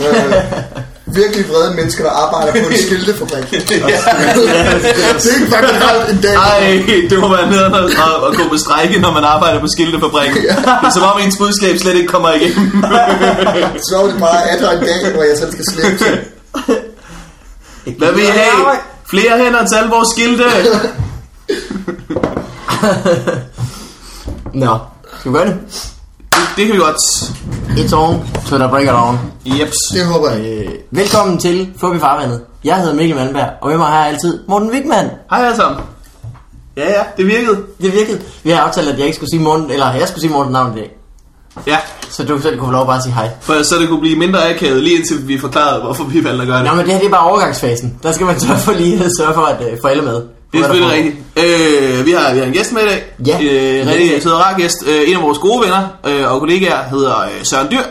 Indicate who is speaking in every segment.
Speaker 1: Øh, virkelig vrede mennesker, der arbejder på en skiltefabrik. det er ikke fucking holdt en dag.
Speaker 2: Ej, det må være nede at, at gå på strække, når man arbejder på skiltefabrikken.
Speaker 1: Ja.
Speaker 2: Det er som om ens budskab slet ikke kommer igennem.
Speaker 1: Så er det meget atter en dag, hvor jeg selv skal slippe til.
Speaker 2: Hvad vil I have? Flere hænder til alle vores skilte.
Speaker 3: Nå, skal vi gøre det?
Speaker 2: Det kan vi godt.
Speaker 3: It's on, to the break it on.
Speaker 2: Jeps.
Speaker 1: Det håber jeg.
Speaker 3: Øh, velkommen til Fubi Farvandet. Jeg hedder Mikkel Mandberg, og med mig har jeg altid Morten Wigman.
Speaker 2: Hej alle sammen. Ja, ja, det virkede.
Speaker 3: Det virkede. Vi har aftalt, at jeg ikke skulle sige Morten, eller jeg skulle sige Morten navn i dag.
Speaker 2: Ja,
Speaker 3: Så du selv kunne få lov at bare sige hej.
Speaker 2: for så det kunne blive mindre akavet, lige indtil vi forklarede, hvorfor vi valgte at gøre det.
Speaker 3: Nå, men det her det er bare overgangsfasen. Der skal man sørge for lige at sørge for, at øh, forældre med.
Speaker 2: Det er selvfølgelig rigtigt. Øh, vi, har, vi har en gæst med i dag.
Speaker 3: Ja.
Speaker 2: Øh, rigtig sød og rar gæst. Øh, en af vores gode venner øh, og kollegaer hedder øh, Søren Dyr.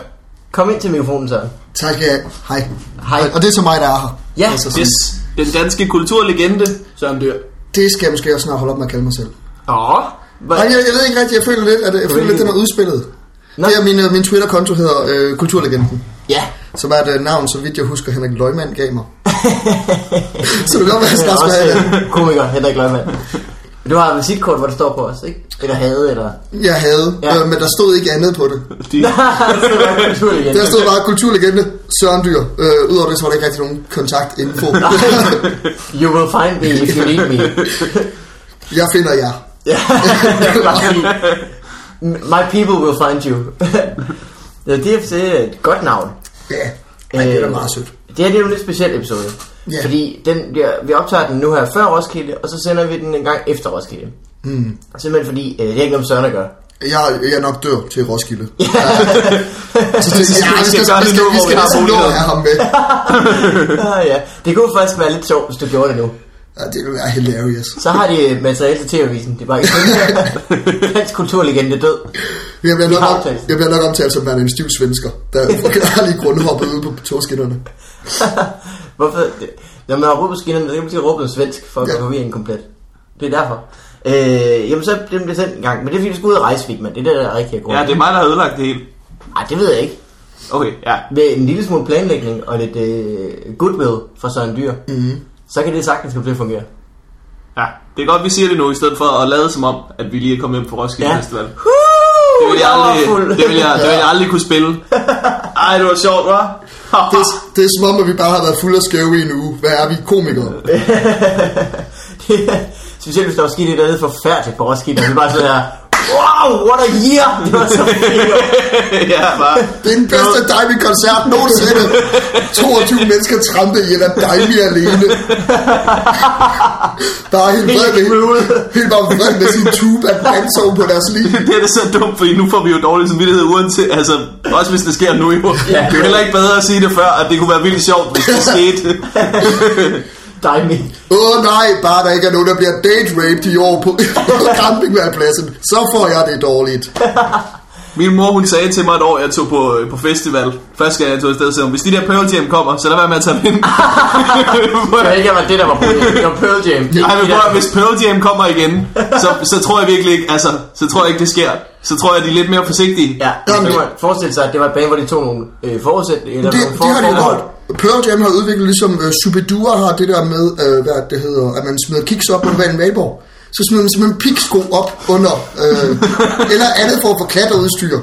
Speaker 3: Kom ind til mikrofonen, Søren.
Speaker 1: Tak, ja. Hej.
Speaker 3: Hej.
Speaker 1: Og det er så mig, der er her. Altså,
Speaker 3: Ja,
Speaker 1: sådan,
Speaker 2: Yes. Den danske kulturlegende Søren Dyr.
Speaker 1: Det skal jeg måske også snart holde op med at kalde mig selv.
Speaker 3: Åh.
Speaker 1: Nej, jeg, jeg ved ikke rigtigt, jeg føler lidt, at jeg føler lidt, den er udspillet.
Speaker 3: Nå.
Speaker 1: Det er min, øh, min Twitter-konto hedder øh, Kulturlegenden,
Speaker 3: Ja.
Speaker 1: som er et øh, navn, så vidt jeg husker, Henrik Løgman gav mig. så det kan godt være, at jeg
Speaker 3: Han er
Speaker 1: snart skal
Speaker 3: også
Speaker 1: have det.
Speaker 3: øh, komiker, Henrik Løgman. Du har et visitkort, hvor det står på os, ikke? Eller havde, eller...
Speaker 1: Jeg havde,
Speaker 3: Ja.
Speaker 1: øh, men der stod ikke andet på det.
Speaker 2: De,
Speaker 3: Så er det naturligt igen.
Speaker 1: Der stod bare kulturlegende Søren Dyr. Øh, Udover det, så var der ikke rigtig nogen kontaktinfo.
Speaker 3: You will find me if you need me.
Speaker 1: jeg finder jer.
Speaker 3: Ja, jeg kan bare sige, My people will find you. Ja, DFC er et godt navn.
Speaker 1: Ja, Ej, det er da
Speaker 3: Øh,
Speaker 1: meget sødt.
Speaker 3: Det her det er jo en lidt speciel episode.
Speaker 1: Ja.
Speaker 3: Fordi den bliver, vi optager den nu her før Roskilde, og så sender vi den en gang efter Roskilde.
Speaker 1: Hmm.
Speaker 3: Mm. Simpelthen fordi, øh, det er ikke noget med Søren at gøre.
Speaker 1: Jeg, jeg er nok dør til Roskilde. Ja. Så tænkte jeg, ja, vi skal, vi skal,
Speaker 2: gøre
Speaker 1: vi
Speaker 2: det
Speaker 1: skal,
Speaker 2: nu,
Speaker 1: vi
Speaker 2: hvor vi
Speaker 1: skal
Speaker 2: har
Speaker 1: næsten nå at
Speaker 2: muligheden.
Speaker 1: have ham med.
Speaker 3: Ah, ja. Det kunne faktisk være lidt sjovt, hvis du gjorde det nu.
Speaker 1: Ja, det vil være hilarious.
Speaker 3: Så har de øh, materiale til TV-avisen. Det er bare ikke Dansk kulturlegende er død.
Speaker 1: Jeg bliver, nok
Speaker 3: har
Speaker 1: op,
Speaker 3: aftalt.
Speaker 1: jeg bliver nok omtalt som værende en stiv svensker, der er lige grundhoppet ude på togskinnerne.
Speaker 3: Hvorfor? det- Når man har råbet på skinnerne, så kan man sige råbet svensk, for at
Speaker 1: Ja.
Speaker 3: ja. gå forbi en komplet. Det er derfor. Øh, jamen så den blev sendt en gang, men det er fordi, du skulle ud og rejse, Vigman. Det er det, der er rigtig godt.
Speaker 2: ja, det er mig, der har ødelagt det hele.
Speaker 3: Ej, det ved jeg ikke.
Speaker 2: Okay, ja.
Speaker 3: Med en lille smule planlægning og lidt øh, goodwill fra Søren Dyr, mm. så kan det sagtens komme til at fungere.
Speaker 2: ja. Det er godt, vi siger det nu, i stedet for at lade som om, at vi lige er kommet hjem fra Roskilde
Speaker 3: Ja.
Speaker 2: Festival.
Speaker 3: Uh,
Speaker 2: Det vil jeg aldrig,
Speaker 3: fuld.
Speaker 2: det vil jeg, det vil jeg aldrig kunne spille. Ej, det var sjovt, hva'?
Speaker 1: Det, er- det er som om, at vi bare har været fulde af skæve i en uge. Hvad er vi? Komikere.
Speaker 3: Specielt hvis der var sket et eller andet forfærdeligt på Roskilde, og vi bare sidder her, wow, what a year! Det var så fedt.
Speaker 2: ja, bare.
Speaker 1: Det er den bedste diving-koncert nogensinde. 22 mennesker trampede i eller diving alene. Bare helt vred med, helt bare vred med sin tube af vandsov på deres liv.
Speaker 2: Det er da så dumt, fordi nu får vi jo dårlig samvittighed uanset, altså også hvis det sker nu jo. Ja. Det er jo heller ikke bedre at sige det før, at det kunne være vildt sjovt, hvis det skete.
Speaker 3: Dig, Mikkel.
Speaker 1: Åh oh, nej, bare der ikke er nogen, der bliver date-raped i år på campingværpladsen. Så får jeg det dårligt.
Speaker 2: Min mor, hun sagde til mig et år, jeg tog på, øh, på festival. Første gang jeg tog afsted, sagde hun, hvis de der Pearl Jam kommer, så lad være med at tage dem ind.
Speaker 3: Det var ikke var det, der var problemet. Det var Pearl Jam.
Speaker 2: Ej, men prøv, at- hvis Pearl Jam kommer igen, så, så tror jeg virkelig ikke, altså, så tror jeg ikke, det sker. Så tror jeg, de er lidt mere forsigtige.
Speaker 3: Ja, så kan man forestille sig, at det var et band, hvor de tog nogle øh, forudsætninger. Eller
Speaker 1: Det, det
Speaker 3: nogle
Speaker 1: har de jo
Speaker 3: forforhold.
Speaker 1: holdt. Pearl Jam har udviklet, ligesom uh, Superdua har det der med, uh, hvad det hedder, at man smider kiks op under en valborg. Så smider man simpelthen piksko op under, øh, eller andet for at få klatreudstyr.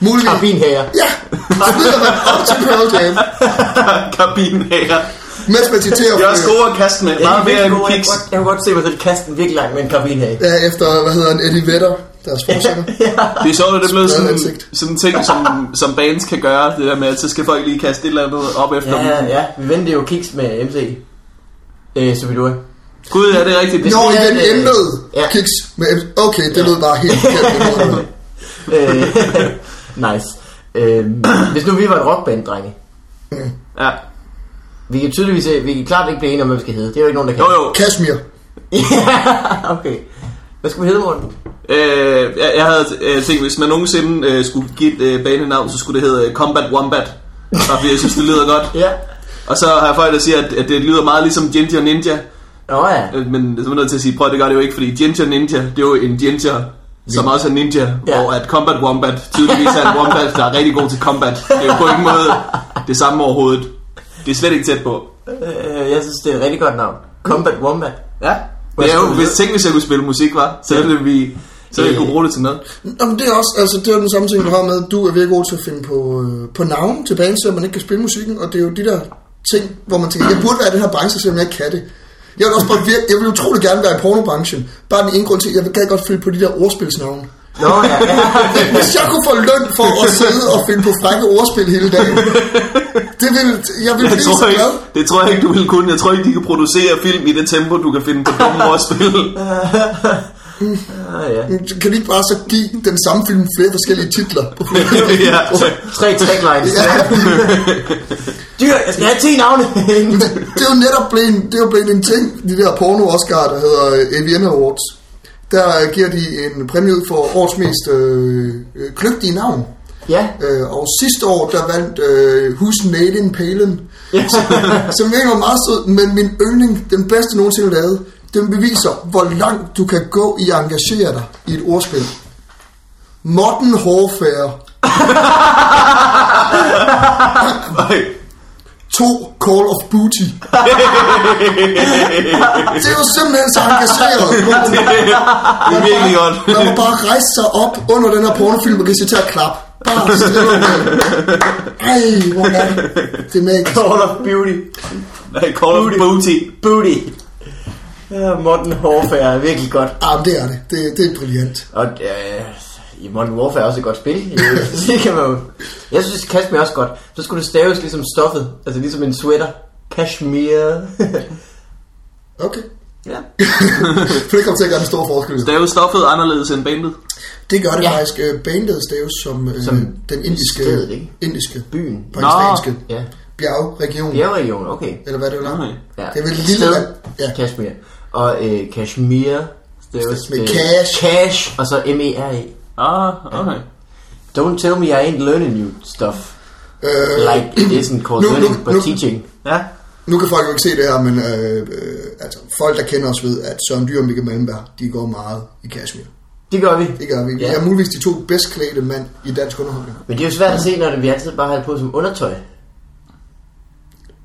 Speaker 1: Muligvis.
Speaker 3: Karbinhager.
Speaker 1: Ja, så smider man op til Pearl Jam,
Speaker 2: Kabinhager.
Speaker 1: mens man citerer
Speaker 2: De er også
Speaker 1: øh,
Speaker 2: gode at kaste med.
Speaker 3: Ja,
Speaker 2: Meget
Speaker 3: de er
Speaker 2: mere end
Speaker 3: virkelig gode. Jeg
Speaker 2: kiks.
Speaker 3: kunne godt- Jeg kunne godt se mig selv kaste den virkelig langt med en karbinhage.
Speaker 1: øh, ja, efter, hvad hedder han, Eddie Vedder, deres fortsætter.
Speaker 2: Det er sjovt, at det er blevet
Speaker 1: Smadret
Speaker 2: sådan,
Speaker 1: ansigt.
Speaker 2: sådan en ting, som, som bands kan gøre. Det der med, at så skal folk lige kaste et eller andet op efter
Speaker 3: Ja,
Speaker 2: dem.
Speaker 3: ja, vi vendte jo kiks med MC. Øh, Superdua.
Speaker 2: Gud, ja, det er rigtigt.
Speaker 1: Nå,
Speaker 3: det
Speaker 1: i
Speaker 3: er
Speaker 1: den
Speaker 3: det-
Speaker 1: emnet,
Speaker 3: ja.
Speaker 1: kiks med Okay, det lød bare helt forkert.
Speaker 3: Øh, nice. Øh, hvis nu vi var et rockband, drenge.
Speaker 2: Ja.
Speaker 3: Vi kan tydeligvis, øh, vi kan klart ikke blive enige om, hvad vi skal hedde. Det er jo ikke nogen, der kan.
Speaker 2: Jo, jo.
Speaker 1: Kashmir.
Speaker 3: ja, okay. Hvad skal vi hedde, Morten?
Speaker 2: Øh, jeg, jeg havde øh, tænkt, hvis man nogensinde øh, skulle give et øh, banenavn, så skulle det hedde øh, Combat Wombat. Bare fordi jeg synes, det lyder godt.
Speaker 3: Ja.
Speaker 2: Og så har jeg folk, der siger, at, at det lyder meget ligesom Ginger Ninja.
Speaker 3: Nå ja.
Speaker 2: Øh, Men så er man nødt til at sige, prøv det gør det jo ikke, fordi Ginger Ninja, det er jo en Ginger, som også er ninja,
Speaker 3: Ja.
Speaker 2: ja. hvor at Combat Wombat tydeligvis er en wombat, der er rigtig god til combat. Det er jo på ingen måde det samme overhovedet. Det er slet ikke tæt på.
Speaker 3: Øh, jeg synes, det er et rigtig godt navn. Combat Wombat.
Speaker 2: Ja. Det er jo, hvis teknisk jeg kunne spille musik, var, så ville vi... Så ville vi kunne bruge det til noget.
Speaker 1: Nå, men det er også, altså, det er jo den samme ting, du har med, du er virkelig god til at finde på, øh, på navn til bands, så man ikke kan spille musikken, og det er jo de der ting, hvor man tænker, jeg burde være i den her branche, selvom jeg ikke kan det. Jeg vil også bare vir- jeg vil utrolig gerne være i pornobranchen. Bare den ene grund til, jeg kan godt følge på de der ordspilsnavne.
Speaker 3: Nå, ja, ja.
Speaker 1: Hvis jeg kunne få løn for at sidde og finde på frække ordspil hele dagen, det ville, jeg ville
Speaker 2: Jeg
Speaker 1: blive
Speaker 2: tror
Speaker 1: så
Speaker 2: ikke,
Speaker 1: glad.
Speaker 2: det tror jeg ikke, du vil kunne. Jeg tror ikke, de kan producere film i det tempo, du kan finde på dumme ordspil.
Speaker 3: Ah, ja.
Speaker 1: Men Kan de ikke bare så give den samme film flere forskellige titler?
Speaker 2: ja.
Speaker 3: Tre taglines.
Speaker 1: Ja,
Speaker 3: Dyr, jeg skal have 10 navne.
Speaker 1: det er jo netop blevet, en- det er jo blevet en ting, de der porno Oscar, der hedder øh, AVN Awards. Der øh, giver de en præmie ud for årets mest øh, øh, kløgtige navn.
Speaker 3: ja.
Speaker 1: Øh, og sidste år, der vandt øh, Husen Nadine Palin,
Speaker 3: Ja.
Speaker 1: som virkelig var meget sød, men min yndling, den bedste nogensinde lavet, den beviser, hvor langt du kan gå i at engagere dig i et ordspil. Modern Warfare
Speaker 2: Ej.
Speaker 1: 2 Call of Booty. det er jo simpelthen så engageret.
Speaker 2: Det er virkelig godt.
Speaker 1: Man må bare rejse sig op under den her pornofilm og give sig til at klappe. Bare stille og roligt. Ej, hvor er det? Det er magisk.
Speaker 3: Call of Beauty.
Speaker 2: Nej, Call of Booty.
Speaker 3: Booty. Ja, Modern Warfare er virkelig godt.
Speaker 1: Ah, men det er det. det. Det er brilliant.
Speaker 3: Og øh, i Modern Warfare er også et godt spil. Øh, det kan man jo. Jeg synes, Kashmir er også godt. Så skulle det staves ligesom stoffet. Altså ligesom en sweater. Kashmir.
Speaker 1: Okay.
Speaker 3: ja.
Speaker 1: For det kommer til at gøre en stor forskel.
Speaker 2: Det er jo stoffet anderledes end bandet.
Speaker 1: Det gør det
Speaker 3: Ja.
Speaker 1: ja. faktisk. Øh, bandet staves som, øh,
Speaker 3: Som
Speaker 1: den indiske,
Speaker 3: stedet, ikke?
Speaker 1: indiske
Speaker 3: Byen.
Speaker 1: pakistanske
Speaker 3: Ja.
Speaker 1: bjergregion.
Speaker 3: Bjergregion, okay.
Speaker 1: Eller hvad det nu er.
Speaker 2: Okay.
Speaker 3: Ja.
Speaker 1: Det er vel et lille
Speaker 3: Sted.
Speaker 1: land. Ja.
Speaker 3: Kashmir. Og øh, Kashmir. Det er jo
Speaker 1: Med
Speaker 3: øh,
Speaker 1: cash.
Speaker 3: Cash. Og så E M-E-R-E.
Speaker 2: Ah, okay.
Speaker 3: Don't tell me I ain't learning you stuff.
Speaker 1: Øh,
Speaker 3: Like it isn't called
Speaker 1: nu- nu-
Speaker 3: learning, but
Speaker 1: nu-
Speaker 3: teaching.
Speaker 2: Ja.
Speaker 1: Nu kan folk jo ikke se det her, men øh, øh, altså, folk, der kender os ved, at Søren Dyr og Michael Malmberg, de går meget i Kashmir.
Speaker 3: Det gør vi.
Speaker 1: Det gør vi. Vi
Speaker 3: Ja.
Speaker 1: er muligvis de to bedst klædte mænd i dansk underholdning.
Speaker 3: Men det er jo svært at se, når det, vi altid bare har det på som undertøj.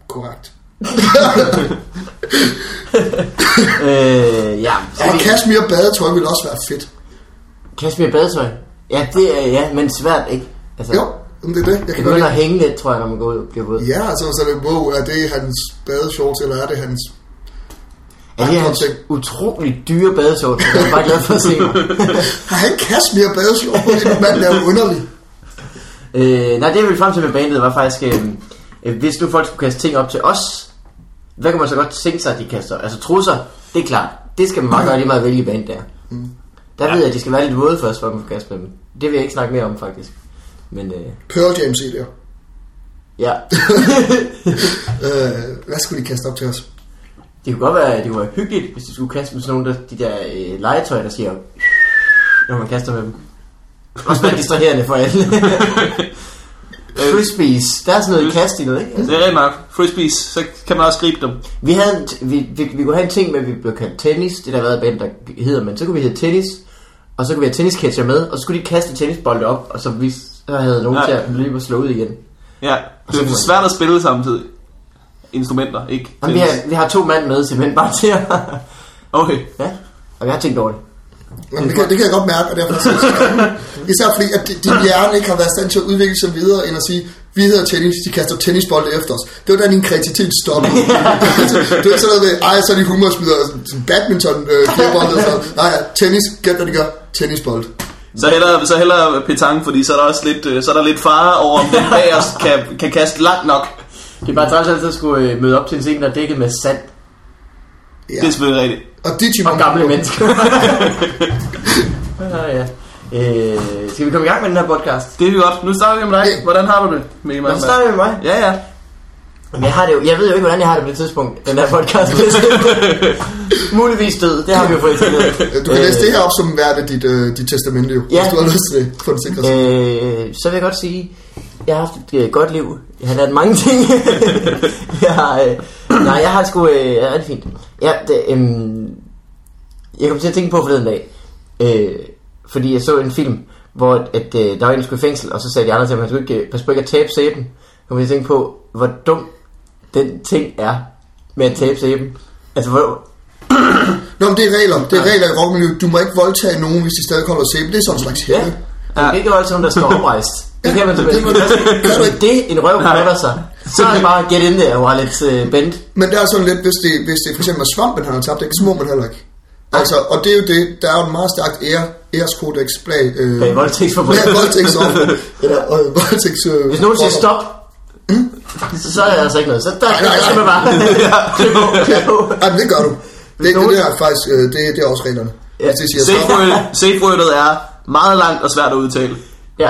Speaker 1: Korrekt.
Speaker 3: Øh, ja. Så
Speaker 1: Og
Speaker 3: vi-
Speaker 1: Kashmir badetøj ville også være fedt.
Speaker 3: Kashmir badetøj. Ja, det er ja, men svært, ikke? Altså,
Speaker 1: Jo, men det er det. Jeg
Speaker 3: Det
Speaker 1: kan godt
Speaker 3: begynder at
Speaker 1: lide.
Speaker 3: hænge lidt, tror jeg, når man går ud og bliver våd.
Speaker 1: Ja, altså, så er det, wow, er det hans badeshorts, eller er det hans...
Speaker 3: er det
Speaker 1: andre
Speaker 3: hans
Speaker 1: ting.
Speaker 3: utrolig dyre badesål, som jeg er bare glad for at se mig.
Speaker 1: Har han Kashmir badeshorts? Det er en mand, der er underlig.
Speaker 3: øh, nej, det jeg ville frem til med bandet var faktisk, øh, øh, hvis nu folk skulle kaste ting op til os, hvad kan man så godt tænke sig, at de kaster? Altså trusser, det er klart. Det skal man meget gøre lige meget vælge band der. Der ved jeg, at de skal være lidt våde først, for at man kan kaste med dem. Det vil jeg ikke snakke mere om, faktisk. Men øh,
Speaker 1: Pearl Jam CD'er.
Speaker 3: ja,
Speaker 1: Øh, hvad skulle de kaste op til os?
Speaker 3: det kunne godt være, det kunne være hyggeligt, hvis de skulle kaste med sådan nogle der, de der øh, legetøj, der siger, når man kaster med dem. Også være distraherende for alle. Øh, Frisbees, der er sådan noget i kast i noget, ikke?
Speaker 2: Det er rigtig nok. Frisbees, så kan man også gribe dem.
Speaker 3: Vi, havde, en t- vi, vi, vi kunne have en ting med, at vi blev kaldt tennis. Det der har været band, der hedder, men så kunne vi hedde tennis. Og så kunne vi have tennisketcher med, og så skulle de kaste tennisbolde op, og så, vi, så havde nogen
Speaker 2: Ja.
Speaker 3: til at løbe og slå ud igen.
Speaker 2: Ja. Det er svært at spille samtidig. Instrumenter, ikke?
Speaker 3: Og vi har, vi har to mand med, simpelthen bare til at...
Speaker 2: Okay.
Speaker 3: ja, og vi har tænkt over det.
Speaker 1: Jamen, det, kan, det kan jeg godt mærke, og derfor er jeg så skrevet. Især fordi, at di- din hjerne ikke har været i stand til at udvikle sig videre, end at sige, vi hedder tennis, de kaster tennisbolde efter os. Det var da din kreativitet stoppede. det var ikke sådan noget med, ej, så er de humorsmider, sådan badminton, øh, knæbold, og sådan noget. Nej, ja, tennis, gæt hvad de gør, tennisbold.
Speaker 2: Så hellere, så hellere petang, fordi så er der også lidt, øh, så er der lidt fare over, om den bagerst kan, kan kaste langt nok.
Speaker 3: Det er bare træls altid at skulle øh, møde op til en scene, der er dækket med sand
Speaker 1: Ja.
Speaker 2: Det er selvfølgelig rigtigt.
Speaker 1: Og de typer...
Speaker 3: og gamle mennesker. ah, ja. Øh, skal vi komme i gang med den her podcast?
Speaker 2: Det er vi godt. Nu starter vi med dig. Hvordan har du det, Mikkel
Speaker 3: Nå,
Speaker 2: Malmberg?
Speaker 3: så starter vi med mig.
Speaker 2: Ja, ja.
Speaker 3: Men jeg, har det jo, jeg ved jo ikke, hvordan jeg har det på det tidspunkt, den her podcast. bliver sendt. Muligvis død, det har vi jo fået etableret.
Speaker 1: øh, Du kan læse det her op som værd dit, øh, dit testamente, jo,
Speaker 3: Øh. Ja.
Speaker 1: hvis du har lyst til det, for den sikre side.
Speaker 3: Øh, så vil jeg godt sige, jeg har haft et øh, godt liv. Jeg har lært mange ting. jeg har, øh, nej, jeg har sgu... Øh, jeg er rigtig fint. Ja, det, øhm, jeg kom til at tænke på forleden dag, øh, fordi jeg så en film, hvor at, øh, der var en, der skulle i fængsel, og så sagde de andre til ham, at han skulle ikke øh, passe på ikke at tabe sæben. Jeg kom til at tænke på, hvor dum den ting er med at tabe sæben. Altså, hvor,
Speaker 1: Nå, men det er regler. Det er regler i rockmiljøet. Du må ikke voldtage nogen, hvis de stadig holder sæbe. Det er sådan en slags
Speaker 3: ja,
Speaker 1: hævde.
Speaker 3: man kan ikke holde sådan, der står oprejst. Det kan man
Speaker 1: Ja, det
Speaker 3: simpelthen
Speaker 1: må
Speaker 3: ikke.
Speaker 1: du ikke.
Speaker 3: Hvis man det, en røv knutter sig, så er det bare get in there, while it's uh, bent.
Speaker 1: Men der er sådan lidt, hvis det, hvis det for eksempel er svampen, han har tabt, ikke, så må man heller ikke. Altså, og det er jo det, der er jo en meget stærkt ære, æreskodex bag... Øh,
Speaker 3: Bag voldtægtsforbryder.
Speaker 1: Ja, voldtægtsoffer. ja, og voldtægts... Øh,
Speaker 3: Hvis nogen siger stop, så, så er der altså ikke noget. Så der
Speaker 1: Mm. Nej, nej,
Speaker 3: er det
Speaker 1: nej.
Speaker 3: bare. Klip på, klip på.
Speaker 1: Ej, men det gør du. Det, det,
Speaker 3: nogen-
Speaker 1: det, er faktisk, øh, det, det er også reglerne. Ja. Hvis de siger
Speaker 2: Safe
Speaker 1: stop,
Speaker 2: word- Safe wordet er meget langt og svært at udtale.
Speaker 3: Ja.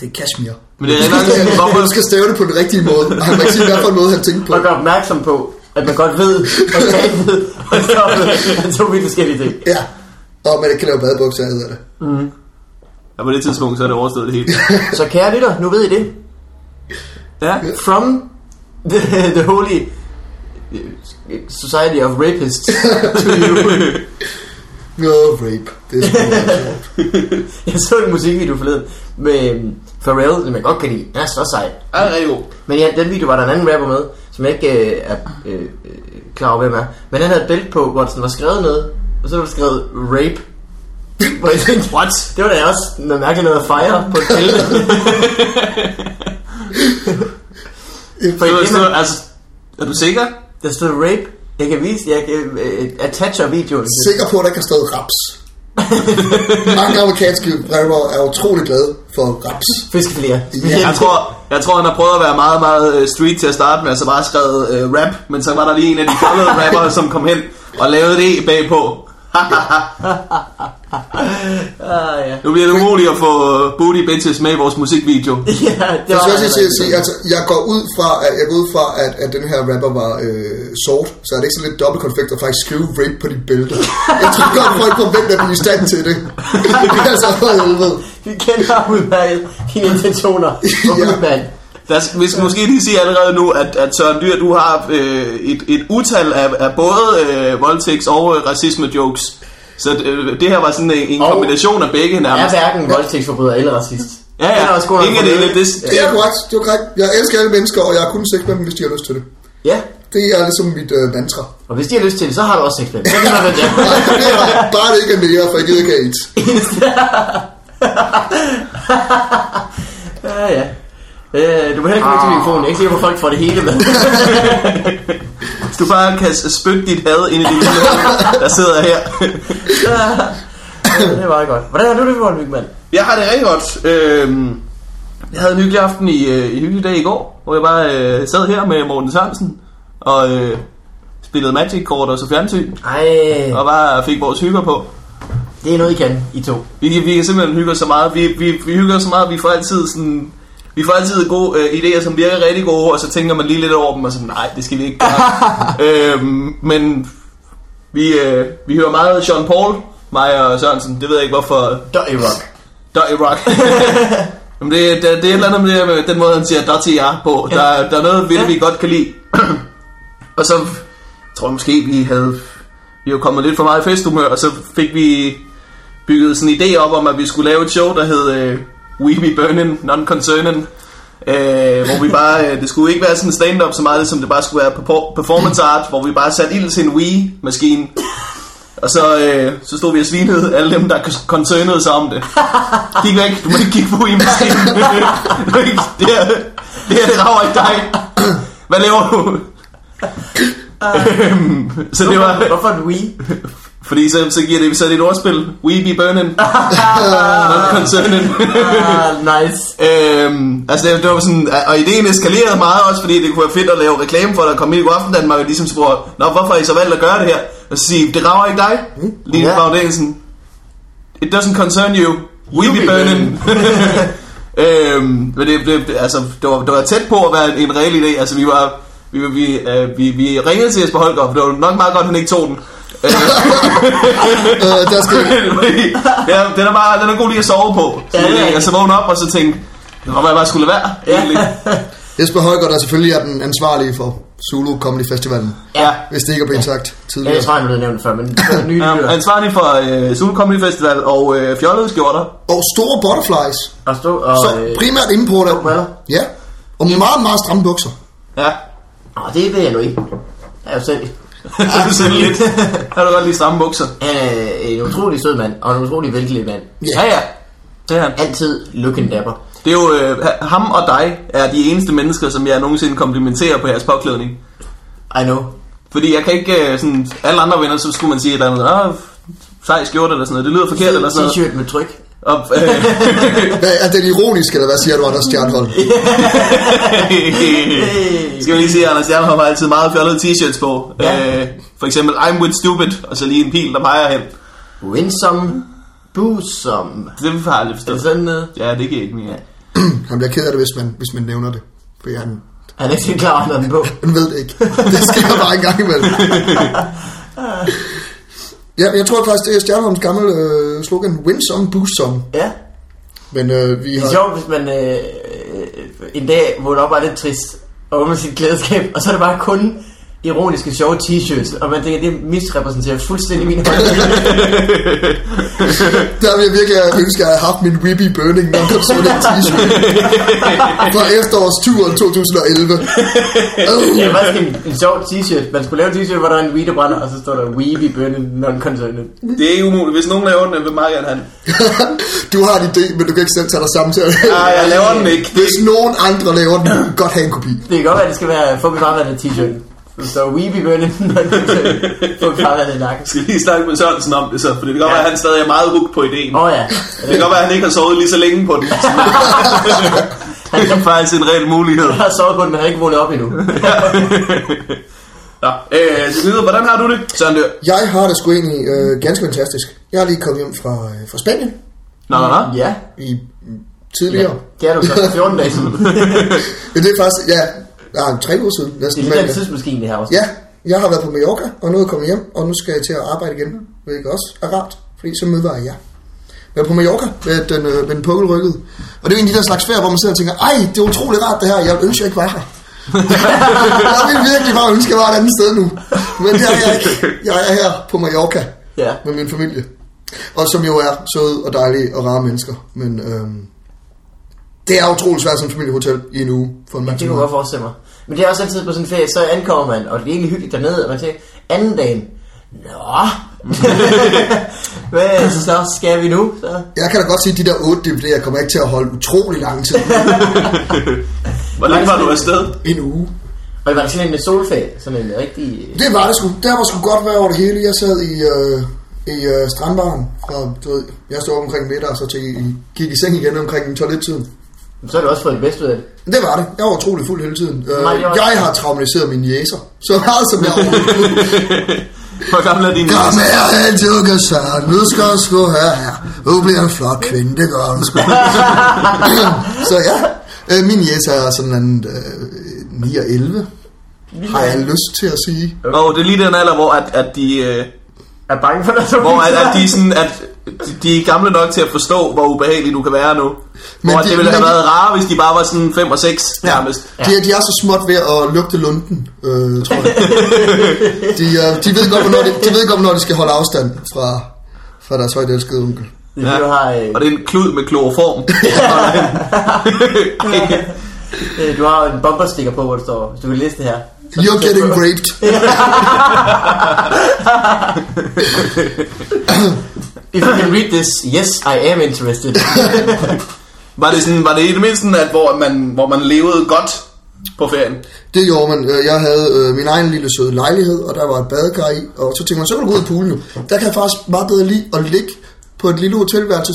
Speaker 1: det er kashmir.
Speaker 2: Men det er
Speaker 1: Du skal-
Speaker 2: nok, hvorfor
Speaker 1: Du skal stave det på den rigtige måde. Og Han kan sige, hvad for en måde han tænkte på.
Speaker 3: Og gør opmærksom på, at man godt ved, at tabet og stoppet er to vidt forskellige ting.
Speaker 1: Ja. Og man ikke kan lave badebukser, hedder det.
Speaker 2: Ja, på det tidspunkt, så er det overstået det hele.
Speaker 3: Så kære lytter, nu ved I det.
Speaker 2: Ja.
Speaker 3: From the, the holy øh, society of rapists.
Speaker 1: No rape. Det er sgu meget sjovt.
Speaker 3: Jeg så en musikvideo forleden med øhm, Pharrell, som jeg godt kan lide. Den er så sej.
Speaker 2: Ja, det er rigtig god.
Speaker 3: Men ja, den video var der en anden rapper med, som jeg ikke øh, er øh, øh, klar over, hvem er. Men han havde et bælte på, hvor der sådan var skrevet noget, og så var der skrevet rape. Hvor jeg tænkte,
Speaker 2: What?
Speaker 3: det var da også noget mærkeligt noget at fejre på et bælte. For
Speaker 2: Så,
Speaker 3: i det,
Speaker 2: så,
Speaker 3: man,
Speaker 2: altså, er du sikker?
Speaker 3: der stod rape. Jeg kan vise, jeg kan, øh, attacher videoen.
Speaker 1: Sikker på, at der ikke har stået raps. Mange amerikanske rapper er utrolig glade for raps.
Speaker 3: Fiskefiléer.
Speaker 1: Ja.
Speaker 2: Jeg tror, jeg tror, han har prøvet at være meget, meget øh, street til at starte med, og så bare skrevet øh, rap, men så var der lige en af de fremmede rappere, som kom hen og lavede det bagpå.
Speaker 3: Ah, ja.
Speaker 2: Nu bliver det umuligt at få øh, booty bitches med i vores musikvideo.
Speaker 3: ja, det
Speaker 1: Jeg
Speaker 3: var
Speaker 1: skal også lige til at sige,
Speaker 3: altså,
Speaker 1: altså, jeg går ud fra, at, jeg går ud fra, at, at den her rapper var øh, sort, så er det ikke sådan lidt dobbeltkonflikt at faktisk skrive rape på de bælter. Jeg tror godt, folk forventer, at de er i stand til det. Det er så for helvede.
Speaker 3: Vi kender udmærket dine intentioner.
Speaker 1: Ja.
Speaker 3: Ja. Mand.
Speaker 2: Der, skal- vi skal måske lige sige allerede nu, at, at Søren Dyr, du har øh, et, et utal af, af både øh, voldtægts- og øh, racisme-jokes. Så øh, det her var sådan en, en
Speaker 3: Og-
Speaker 2: kombination af begge
Speaker 3: Jeg er
Speaker 2: nærmest.
Speaker 3: hverken voldtægtsforbryder eller racist.
Speaker 2: Ja,
Speaker 3: Han er også god
Speaker 2: ja.
Speaker 3: nok
Speaker 2: Ingen af
Speaker 3: for
Speaker 2: det.
Speaker 3: det.
Speaker 2: Det,
Speaker 1: Det er korrekt, det er korrekt. Jeg elsker alle mennesker, og jeg har kun sex med dem, hvis de har lyst til det.
Speaker 3: Ja,
Speaker 1: Det er ligesom mit øh, mantra.
Speaker 3: og hvis de har lyst til det, så har du også sex med dem. Så kan man det.
Speaker 1: Nej, det er bare- Bare det ikke er mere, for jeg gider ikke have AIDS.
Speaker 3: Ja, ja. Øh, du må heller ikke
Speaker 2: Ah.
Speaker 3: komme til mikrofonen. Jeg er ikke sikker på, at folk får det hele med.
Speaker 2: Hvis du bare kan s- spytte dit had ind i det lille, der sidder her.
Speaker 3: Ja, det var meget godt. Hvordan har du det, Morten Wigman?
Speaker 2: Jeg har det rigtig godt. Øhm, jeg havde en hyggelig aften i, øh, en hyggelig dag i går, hvor jeg bare øh, sad her med Morten Sørensen og øh, spillede Magic-kort og så fjernsyn,
Speaker 3: Ej,
Speaker 2: og bare fik vores hygger på.
Speaker 3: det er noget, I kan, I to.
Speaker 2: Vi, kan- vi kan simpelthen hygge os så meget. Vi, vi, vi hygger os så meget, vi får altid sådan... Vi får altid gode øh, idéer, som virker rigtig gode, og så tænker man lige lidt over dem, og sådan, nej, det skal vi ikke gøre. øhm, men vi, øh, vi hører meget Sean Paul, mig og Sørensen. Det ved jeg ikke, hvorfor...
Speaker 3: Dirty Rock.
Speaker 2: Dirty Rock. Jamen, det, det, det er et eller andet med det her med den måde, han siger Dirty R på. Der, ja. der er noget ved det, vi godt kan lide. og så tror jeg måske, vi havde... Vi var kommet lidt for meget i festhumør, og så fik vi bygget sådan en idé op om, at vi skulle lave et show, der hed øh, We Be Burning, Non-Concerning. Øh, hvor vi bare, øh, det skulle ikke være sådan stand-up så meget, som det bare skulle være perfor- performance art, hvor vi bare satte ild til en Wii-maskine. Og så, øh, så stod vi og svinede alle dem, der kon- concernede sig om det. Gik væk, du må ikke kigge på Wii-maskinen. Du må ikke- det her, det her, det rager ikke dig. Hvad laver du? Øhm, så det var,
Speaker 3: Hvorfor en Wii?
Speaker 2: fordi så, så giver det, så er det et ordspil. We be burning. Not concerning.
Speaker 3: Ah, nice.
Speaker 2: Øhm, altså det, det var sådan, og ideen eskalerede meget også, fordi det kunne være fedt at lave reklame for dig, komme ind i aften Danmark og ligesom spurgte, Nå, hvorfor har I så valgt at gøre det her? Og så sige, det rager ikke dig, Line
Speaker 3: Mm, Ja.
Speaker 2: yeah. Bagdelsen. It doesn't concern you, we
Speaker 3: You
Speaker 2: be
Speaker 3: be
Speaker 2: burning. øhm, men det, det, det- altså, det, var, det var tæt på at være en, en reel idé, altså vi var, vi, var- vi, øh, vi, vi ringede til Jesper Holger, for det var nok meget godt, han ikke tog den.
Speaker 1: Øh, der skal...
Speaker 2: ja, den er, bare, den er god lige at sove på. Så,
Speaker 3: Ja, det er
Speaker 2: ja,
Speaker 3: rigtigt.
Speaker 2: ja. så vågne op og så tænke, det var, jeg bare skulle lade være, egentlig.
Speaker 1: Jesper Højgaard, der selvfølgelig er den ansvarlige for Zulu Comedy Festivalen.
Speaker 3: Ja.
Speaker 1: Hvis det ikke er blevet sagt
Speaker 3: Ja,
Speaker 1: tidligere.
Speaker 3: jeg tror, han blev nævnt før, men det var nye
Speaker 2: Um,
Speaker 3: dyr.
Speaker 2: ansvarlig for øh, Zulu Comedy Festival og øh, fjollede skjorter.
Speaker 1: Og store butterflies.
Speaker 3: Og stå og...
Speaker 1: Så
Speaker 3: øh,
Speaker 1: primært inde på det.
Speaker 3: briller.
Speaker 1: Ja. Og meget, meget stramme bukser.
Speaker 2: Ja.
Speaker 3: Åh, det ved jeg nu ikke. Jeg er jo selv
Speaker 2: Det er sådan lidt. Der er du godt lige stramme bukser.
Speaker 3: han er øh, en utrolig sød mand, og en utrolig velklædt mand.
Speaker 2: Ja, ja. Det er han.
Speaker 3: Altid looking dapper.
Speaker 2: Det er jo, øh, ham og dig er de eneste mennesker, som jeg nogensinde komplimenterer på jeres påklædning.
Speaker 3: I know.
Speaker 2: Fordi jeg kan ikke, øh, sådan, alle andre venner, så skulle man sige, at der er noget, "Åh, sej skjorte eller sådan noget, det lyder forkert eller sådan noget.
Speaker 3: T-shirt med tryk.
Speaker 2: Og, øh,
Speaker 1: Hvad, er den ironisk, eller hvad siger du, Anders Stjernholm?
Speaker 2: skal vi lige sige, at Anders Stjernholm har altid meget fjollede t-shirts på.
Speaker 3: Ja.
Speaker 2: Ja. Øh, for eksempel, I'm with stupid, og så lige en pil, der peger hen.
Speaker 3: Win some, booze some.
Speaker 2: Det har jeg aldrig
Speaker 3: Er det
Speaker 2: forstået.
Speaker 3: sådan øh? noget?
Speaker 2: Ja, det giver ikke mere.
Speaker 1: Han bliver ked af det, hvis man, hvis man nævner det. Fordi han,
Speaker 3: Han er ikke helt klar, hvad han på.
Speaker 1: han ved det ikke. Det sker bare en gang imellem. Ja, jeg tror faktisk, det er Stjernholms gamle øh, slogan, win some, boost some.
Speaker 3: Ja.
Speaker 1: Men øh, vi
Speaker 3: Det
Speaker 1: har...
Speaker 3: er sjovt, hvis man øh, øh, en dag vågner op og er lidt trist og åbner sit klædeskab, og så er det bare kun ironiske, sjove t-shirts, og man tænker, det misrepræsenterer fuldstændig min holdning.
Speaker 1: Der vil jeg virkelig ønske, at jeg havde haft min Whippy Burning Number sådan en t-shirt fra efterårsturen 2011. Oh,
Speaker 3: Det er faktisk en, en sjov t-shirt. Man skulle lave en t-shirt, hvor der er en weed, der brænder, og så står der Weeby Burning Non-Concerned.
Speaker 2: Det er ikke umuligt. Hvis nogen laver den, jeg vil meget gerne have den.
Speaker 1: du har en idé, men du kan ikke selv tage dig sammen til det.
Speaker 2: Nej, Ah, jeg laver den ikke. Det er
Speaker 1: Hvis nogen andre laver den, du kan godt have en kopi.
Speaker 3: Det kan godt være, at det skal være få mit farvandet t-shirt. Så står Weeby Burning Non-Concerned. Få mit farvandet i nakken.
Speaker 2: Jeg skal lige snakke med Sørensen om det så, for det kan godt
Speaker 3: Ja.
Speaker 2: være, at han stadig er meget hooked på ideen.
Speaker 3: Åh oh, ja.
Speaker 2: Det kan godt være, at han ikke har sovet lige så længe på den. det er faktisk en reel mulighed.
Speaker 3: Jeg har sovet på den, men har ikke vågnet op endnu.
Speaker 2: Nå, øh, til videre, hvordan har du det, Søren Dør?
Speaker 1: Jeg har det sgu egentlig øh, ganske fantastisk. Jeg er lige kommet hjem fra, øh, fra Spanien
Speaker 2: Nå, nå, nå.
Speaker 3: Ja.
Speaker 1: i mm, tidligere.
Speaker 3: Det er du så 14 dage siden.
Speaker 1: Ja. det er faktisk, ja, nej, tre uger siden
Speaker 3: Det
Speaker 1: næsten.
Speaker 3: er lidt
Speaker 1: men,
Speaker 3: en
Speaker 1: øh,
Speaker 3: tidsmaskine, det her også.
Speaker 1: Ja, jeg har været på Mallorca, og nu er jeg kommet hjem, og nu skal jeg til at arbejde igen, hvilket også er rart, fordi så møder jeg jer. Jeg er på Mallorca med den, øh, med den pukkelrykkede, og det er jo en af de der slags ferie, hvor man sidder og tænker, ej, det er utroligt rart det her, jeg ønsker jeg ikke var her. jeg vil virkelig bare ønske, at jeg var et andet sted nu. Men det er jeg ikke. Jeg er her på Mallorca
Speaker 3: Ja.
Speaker 1: med min familie. Og som jo er søde og dejlige og rare mennesker. Men øhm, det er utroligt svært som familiehotel i en uge for en mand.
Speaker 3: Det kan
Speaker 1: som
Speaker 3: jeg
Speaker 1: mig.
Speaker 3: godt forestille mig. Men det er også altid på sådan en ferie, så ankommer man, og det er egentlig hyggeligt dernede, og man tænker, anden dagen, Nå, hvad så snart skal vi nu? Så?
Speaker 1: Jeg kan da godt sige, at de der 8 DVD'er kommer ikke til at holde utrolig lang tid.
Speaker 2: Hvor længe var du afsted?
Speaker 1: en uge.
Speaker 3: Og det var sådan en solferie, sådan en rigtig... øh,
Speaker 1: Det var det sgu. Der var sgu godt være over det hele. Jeg sad i, øh, i øh, strandbaren, og du ved, jeg stod op omkring middag, og så til, gik i seng igen omkring toilettiden.
Speaker 3: Så har du også fået det bedste ud af det.
Speaker 1: Det var det. Jeg var utrolig fuld hele tiden. Øh,
Speaker 3: Nej, det var-
Speaker 1: jeg har traumatiseret mine jæser. Så meget som jeg overhovedet kunne.
Speaker 2: Hvor gammel er din
Speaker 1: Kom her, helt Jørgen Søren. Nu skal du sgu her her. Nu bliver en flot kvinde, det gør du sgu. så ja, øh, min jæser er sådan en øh, 9 og 11. Har jeg lyst til at sige.
Speaker 2: Åh, oh, det er lige den alder, hvor at, at de... Øh,
Speaker 3: Jeg er bange for dig, så
Speaker 2: hvor at, at de, sådan, at de, de er gamle nok til at forstå, hvor ubehagelig du kan være nu. Men hvor
Speaker 1: Men
Speaker 2: de,
Speaker 1: de-
Speaker 2: det ville have
Speaker 1: men de-
Speaker 2: været rare, hvis de bare var sådan 5 og 6 nærmest.
Speaker 1: De, er- de er så småt ved at lugte lunden, øh, tror jeg. de, øh, de, ved godt, hvornår de, de ved godt, hvornår de skal holde afstand fra, fra deres højt elskede onkel.
Speaker 3: Ja. Du har, øh,
Speaker 2: Og det er en klud med kloroform. Ej.
Speaker 3: øh, du har en bombersticker på, hvor det står, hvis du kan læse det her. Så-
Speaker 1: You're
Speaker 3: så-
Speaker 1: getting raped.
Speaker 3: If you can read this, yes, I am interested.
Speaker 2: Var det, sådan, var det i det mindste, sådan, at hvor man, hvor man levede godt på ferien?
Speaker 1: Det gjorde man. Øh, Jeg havde øh, min egen lille søde lejlighed, og der var et badekar i. Og så tænkte man, så kan du gå ud i poolen jo. Der kan jeg faktisk meget bedre lide at ligge på et lille hotelværelse.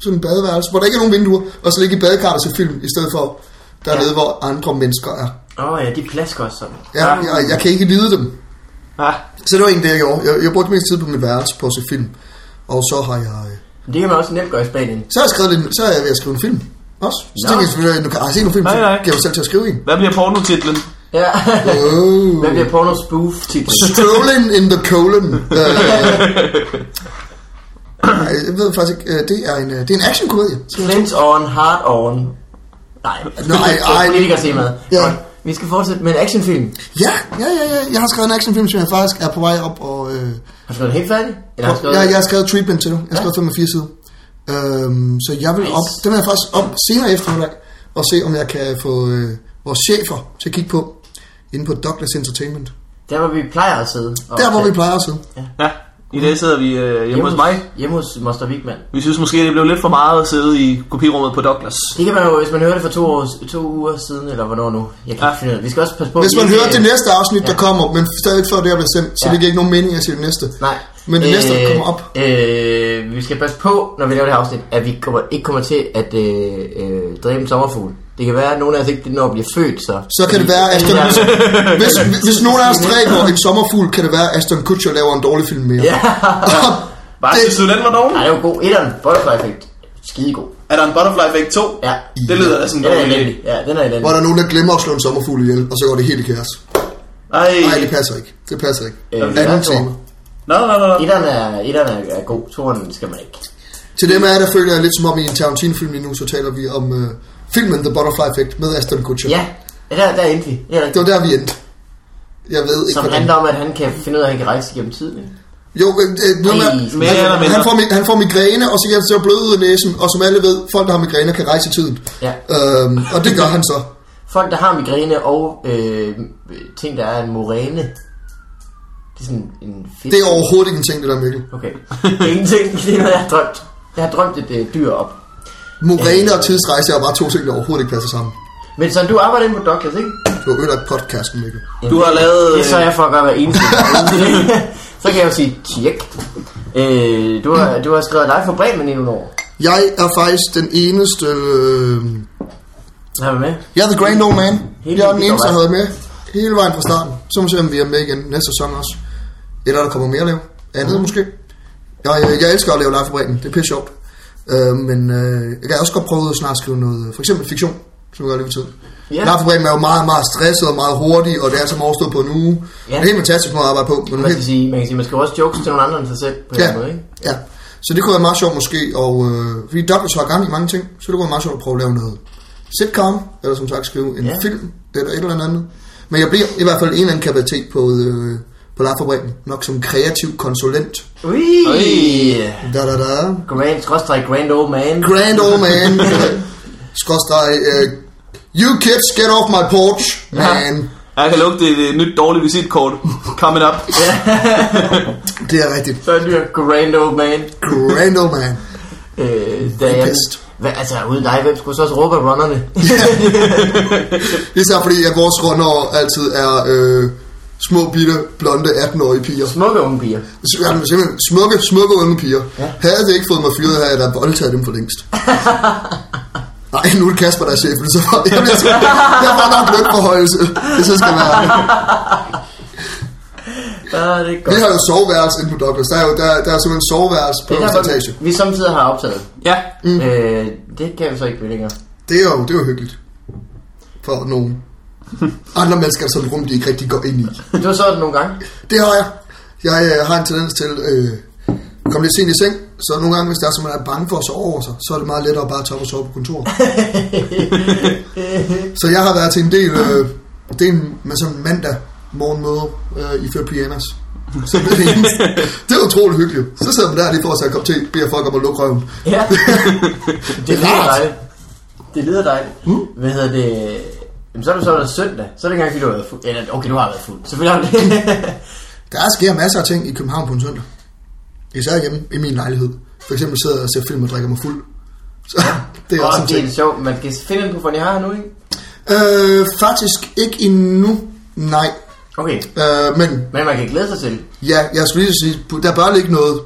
Speaker 1: Sådan en badeværelse, hvor der ikke er nogen vinduer. Og så ligge i badekar og se film, i stedet for dernede, hvor andre mennesker er.
Speaker 3: Åh oh, ja, de plasker også sådan.
Speaker 1: Jeg, jeg, jeg kan ikke lide dem.
Speaker 2: Ah.
Speaker 1: Så det var egentlig det, jeg gjorde. Jeg, jeg brugte mest tid på mit værelse på at se film. Og så har jeg... øh,
Speaker 3: Det kan man også nemt gøre i Spanien.
Speaker 1: Så har jeg skrevet lidt, så er jeg ved at skrive en film. Også. Så
Speaker 3: Nå.
Speaker 1: tænkte jeg selvfølgelig, nu kan jeg se nogle film, så
Speaker 2: Nej, nej.
Speaker 1: kan jeg jo selv til at skrive en.
Speaker 2: Hvad bliver pornotitlen?
Speaker 3: Ja.
Speaker 1: Oh.
Speaker 3: Hvad bliver porno spoof titlen?
Speaker 1: Strolling in the colon. Øh, nej, jeg ved faktisk ikke, øh, det er en, øh, det er en actionkomedie.
Speaker 3: Flint on, hard on. Nej.
Speaker 1: Nej, ej.
Speaker 3: Politiker se med.
Speaker 1: Ja.
Speaker 3: Godt. Vi skal fortsætte med en actionfilm.
Speaker 1: Ja, ja, ja, ja, jeg har skrevet en actionfilm, som jeg faktisk er på vej op og... Øh,
Speaker 3: Har du skrevet den helt færdig? Eller har du skrevet
Speaker 1: jeg, jeg har skrevet treatment til dig. Jeg har skrevet 5 og 4 sider. Øhm, så jeg vil op,
Speaker 3: Nice.
Speaker 1: den er jeg faktisk op senere i eftermiddag, og se om jeg kan få øh, vores chefer til at kigge på. inde på Douglas Entertainment.
Speaker 3: Der hvor vi plejer at sidde. Og
Speaker 1: Der, hvor vi plejer at sidde.
Speaker 2: Ja, i dag sidder vi øh, hjemme hos mig.
Speaker 3: Hjemme hos Moster Wigman.
Speaker 2: Vi synes måske, det blev lidt for meget at sidde i kopirummet på Douglas.
Speaker 3: Det kan man jo, hvis man hører det for to, år, to uger siden, eller hvornår nu. Jeg kan
Speaker 2: Ja.
Speaker 3: ikke finde ud af det. Vi skal også passe på...
Speaker 1: Hvis man
Speaker 3: ikke-
Speaker 1: hører det næste afsnit, der kommer, men stadig før det er blevet sendt, så
Speaker 3: Ja.
Speaker 1: det giver ikke nogen mening at sige det næste.
Speaker 3: Nej.
Speaker 1: Men det næste, der kommer op.
Speaker 3: Øh, vi skal passe på, når vi laver det her afsnit, at vi kommer, ikke kommer til at øh, øh, dræbe en sommerfugl. Det kan være, at nogen af os ikke når at blive født, så...
Speaker 1: Så kan det være, at Aston, hvis, hvis nogen af os dræber en sommerfugl, kan det være, at Aston Kutcher laver en dårlig film mere.
Speaker 3: Ja.
Speaker 2: Hvad
Speaker 1: Det-
Speaker 2: synes du, den var dårlig?
Speaker 3: Nej, det var god. Etteren, butterfly effekt. Skidegod.
Speaker 2: Er der en Butterfly Effect 2?
Speaker 3: Ja.
Speaker 2: Det lyder da sådan
Speaker 3: Den er
Speaker 2: en dårlig idé.
Speaker 3: elendig. Ja, den er
Speaker 1: Hvor
Speaker 3: elendig.
Speaker 1: der er nogen, der glemmer at slå en sommerfugl ihjel, og så går det helt i kaos.
Speaker 2: Ej.
Speaker 1: Nej, det passer ikke. Det passer ikke.
Speaker 3: Øh,
Speaker 1: Anden
Speaker 3: Naruto.
Speaker 1: tema.
Speaker 2: Nå, nå, nå. nå.
Speaker 3: Etteren er, etteren er, er god. Toren skal man ikke.
Speaker 1: Til dem af jer, der føler jeg lidt som om i en Tarantino-film lige nu, så taler vi om øh, filmen The Butterfly Effect med Aston Kutcher.
Speaker 3: Ja, ja, der, der endte vi. Det er
Speaker 1: Det
Speaker 3: rigtigt.
Speaker 1: var der, vi endte. Jeg ved ikke,
Speaker 3: Som handler om, at han kan finde ud af, at han kan rejse igennem tiden.
Speaker 1: Jo, øh, øh, noget med,
Speaker 3: Ej,
Speaker 2: mere eller mindre.
Speaker 1: han, får, mi- han får migræne, og så kan han så bløde ud i næsen, og som alle ved, folk, der har migræne, kan rejse i tiden.
Speaker 3: Ja.
Speaker 1: Øhm, og det gør han så.
Speaker 3: Folk, der har migræne og øh, ting, der er en moræne. Det er sådan en fisk.
Speaker 1: Det er overhovedet ikke en ting, det der, Mikkel.
Speaker 3: Okay. Det er ingenting. Det er noget, jeg har drømt. Jeg har drømt et øh, dyr op.
Speaker 1: Moræne og tidsrejse er bare to ting, der overhovedet ikke passer sammen.
Speaker 3: Men så du arbejder inde på Douglas, ikke?
Speaker 1: Du har ødelagt podcasten, Mikkel.
Speaker 2: Du har lavet...
Speaker 3: Det sørger
Speaker 1: øh-
Speaker 3: jeg for at gøre hver eneste gang. Så kan jeg jo sige, tjek. Øh, du, har, du har skrevet dig for Bremen i nogle år.
Speaker 1: Jeg er faktisk den eneste... Øh...
Speaker 3: Har vi med?
Speaker 1: Jeg er The Grand Old Man.
Speaker 3: Helt
Speaker 1: Jeg er den
Speaker 3: vildt,
Speaker 1: eneste, der
Speaker 3: der
Speaker 1: har været
Speaker 3: var.
Speaker 1: med hele vejen fra starten. Så må vi se, om vi er med igen næste sæson også. Eller der kommer mere at lave.
Speaker 3: Mm.
Speaker 1: Andet måske. Jeg, jeg, jeg elsker at lave legefabrikken. Det er pisse sjovt. Øh, men øh, jeg kan også godt prøve at snart skrive noget, øh, for eksempel fiktion, som jeg gør lige for tiden.
Speaker 3: Ja.
Speaker 1: Yeah. Legefabrikken er jo meget, meget stresset og meget hurtig, og det er som overstået på en uge.
Speaker 3: Ja.
Speaker 1: Det er helt fantastisk måde at arbejde på. Men
Speaker 3: Man
Speaker 1: helt,
Speaker 3: skal sige, man kan sige, man skal jo også jokes til nogle andre end sig selv på en eller
Speaker 1: Ja,
Speaker 3: anden måde, ikke?
Speaker 1: ja. Så det kunne være meget sjovt måske, og øh, fordi Douglas har gang i mange ting, så det kunne være meget sjovt at prøve at lave noget sitcom, eller som sagt skrive en
Speaker 3: Ja.
Speaker 1: ja. film, det eller et eller andet. Men jeg bliver i hvert fald en eller anden kapacitet på, øh, på Larfabrikken, nok som kreativ konsulent.
Speaker 3: Ui!
Speaker 1: Da, da, da.
Speaker 3: Grand, skråstrej Grand Old Man.
Speaker 1: Grand old man. øh, Skråstreg, øh, you kids get off my porch, man.
Speaker 2: Jeg kan lugte et, et nyt dårligt visitkort. Coming up.
Speaker 1: Det er rigtigt.
Speaker 3: Så er det Grand Old Man.
Speaker 1: Grand old man.
Speaker 3: Øh, da jeg,
Speaker 1: Pest.
Speaker 3: hvad, altså, uden dig, hvem skulle så også råbe af runnerne?
Speaker 1: Især fordi, at vores runder altid er øh, små, bitte, blonde, 18-årige piger.
Speaker 3: Smukke unge piger.
Speaker 1: Jamen, simpelthen smukke, smukke unge piger. Ja. Havde det ikke fået mig fyret, havde jeg da voldtaget dem for længst. Nej, nu er det Kasper, der er chefen, så jeg bliver sgu... Jeg får nok lønforhøjelse, hvis jeg skal være.
Speaker 3: Ja, det er
Speaker 1: Vi
Speaker 3: godt.
Speaker 1: har jo soveværelse inde på Douglas. Der er jo der, der er simpelthen soveværelse på
Speaker 3: Det er
Speaker 1: en
Speaker 3: der,
Speaker 1: plantage.
Speaker 3: hvor vi samtidig har optaget.
Speaker 2: Ja.
Speaker 3: Mm. Øh, det kan vi så ikke blive længere.
Speaker 1: Det er jo, det er jo hyggeligt. For nogen. Andre mennesker er sådan et rum, de ikke rigtig går ind i.
Speaker 3: Du har så det nogle gange.
Speaker 1: Det har jeg. Jeg øh, har en tendens til øh, at komme lidt sent i seng, så nogle gange, hvis der er, så man er bange for at sove over sig, så er det meget lettere bare at tage op og sove på kontoret. så jeg har været til en del, øh, del med sådan mandag morgenmøder øh, i før pyjamas. Så det, er det, eneste. det er utroligt hyggeligt. Så sidder man der lige for at tage en kop te, beder folk om at lukke røven.
Speaker 3: Ja. det lyder
Speaker 1: rart.
Speaker 3: dejligt. Det lyder dejligt. Mm. Hvad hedder det? Jamen, så er du så der søndag. Så er det ikke engang, fordi du har været fuld. Eller, okay, du har været fuld. Selvfølgelig har du det.
Speaker 1: Der sker masser af ting i København på en søndag. Især hjemme i min lejlighed. For eksempel sidder jeg og ser film og drikker mig fuld. Så det er også en
Speaker 3: Og det er
Speaker 1: ting.
Speaker 3: lidt sjovt. Man kan finde en på, jeg har nu, ikke?
Speaker 1: Øh, faktisk ikke endnu, nej.
Speaker 3: Okay.
Speaker 1: Øh, men
Speaker 3: Men man kan glæde sig til.
Speaker 1: ja, jeg skulle lige sige, der bør ligge noget,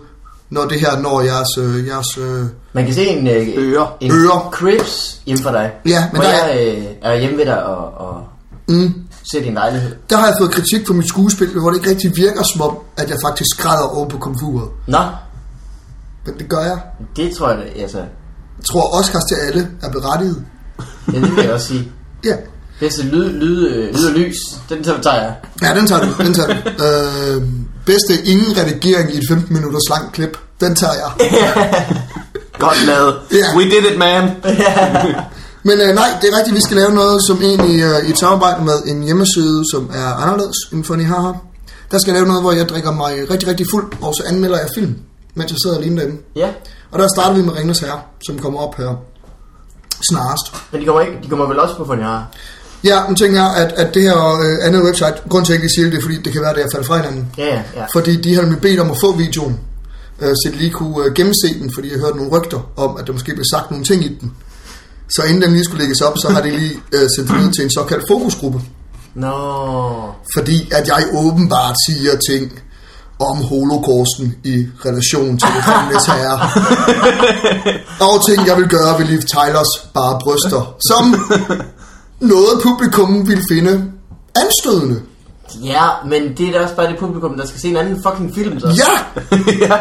Speaker 1: når det her når jeres... Øh, jeres øh,
Speaker 3: Man kan se en, øh,
Speaker 2: Ører.
Speaker 3: en
Speaker 1: Ører.
Speaker 3: Crips hjemme fra dig.
Speaker 1: Ja, men
Speaker 3: hvor
Speaker 1: der
Speaker 3: jeg øh, er hjemme ved dig og, og
Speaker 1: mm.
Speaker 3: ser din lejlighed.
Speaker 1: Der har jeg fået kritik for mit skuespil, hvor det ikke rigtig virker som om, at jeg faktisk græder oven på komfuret.
Speaker 3: Nå,
Speaker 1: Men det gør jeg.
Speaker 3: det tror jeg, da- altså,
Speaker 1: Jeg tror, Oscars til alle er berettiget.
Speaker 3: ja, det vil jeg også sige.
Speaker 1: Ja,
Speaker 3: Bedste lyd, lyd, øh, lyd og lys, den tager tager jeg.
Speaker 1: ja den tager du. Den tager du. Øh, bedste ingen redigering i et 15 minutters langt klip. Den tager jeg.
Speaker 2: Godt lavet.
Speaker 1: Ja.
Speaker 2: We did it, man.
Speaker 1: Men øh, nej, det er rigtigt, vi skal lave noget, som egentlig øh, i et samarbejde med en hjemmeside, som er anderledes end Funny Haha. Der skal jeg lave noget, hvor jeg drikker mig rigtig, rigtig fuld, og så anmelder jeg film, mens jeg sidder alene derhjemme.
Speaker 3: Ja,
Speaker 1: Og der starter vi med Ringnes Herre, som kommer op her snarest.
Speaker 3: men de kommer, ikke, de kommer vel også på Fonjara.
Speaker 1: Ja, nu tænker jeg, at, at det her øh, andet website, grund til, at jeg ikke siger det, det er, fordi det kan være, at jeg falder fra hinanden.
Speaker 3: Ja, ja, ja.
Speaker 1: Fordi de havde nemlig bedt om at få videoen, øh, så de lige kunne øh, gennemse den, fordi jeg hørte nogle rygter om, at der måske blev sagt nogle ting i den. Så inden den lige skulle lægges op, så har de lige øh, sendt den ud til en såkaldt fokusgruppe.
Speaker 3: Nå.
Speaker 1: Fordi at jeg åbenbart siger ting om holocausten i relation til det fremmedes herre. Og ting, jeg vil gøre ved Liv Tylers bare bryster, som noget publikum ville finde anstødende.
Speaker 3: Ja, men det er da også bare det publikum, der skal se en anden fucking film, så.
Speaker 1: Ja!
Speaker 2: ja.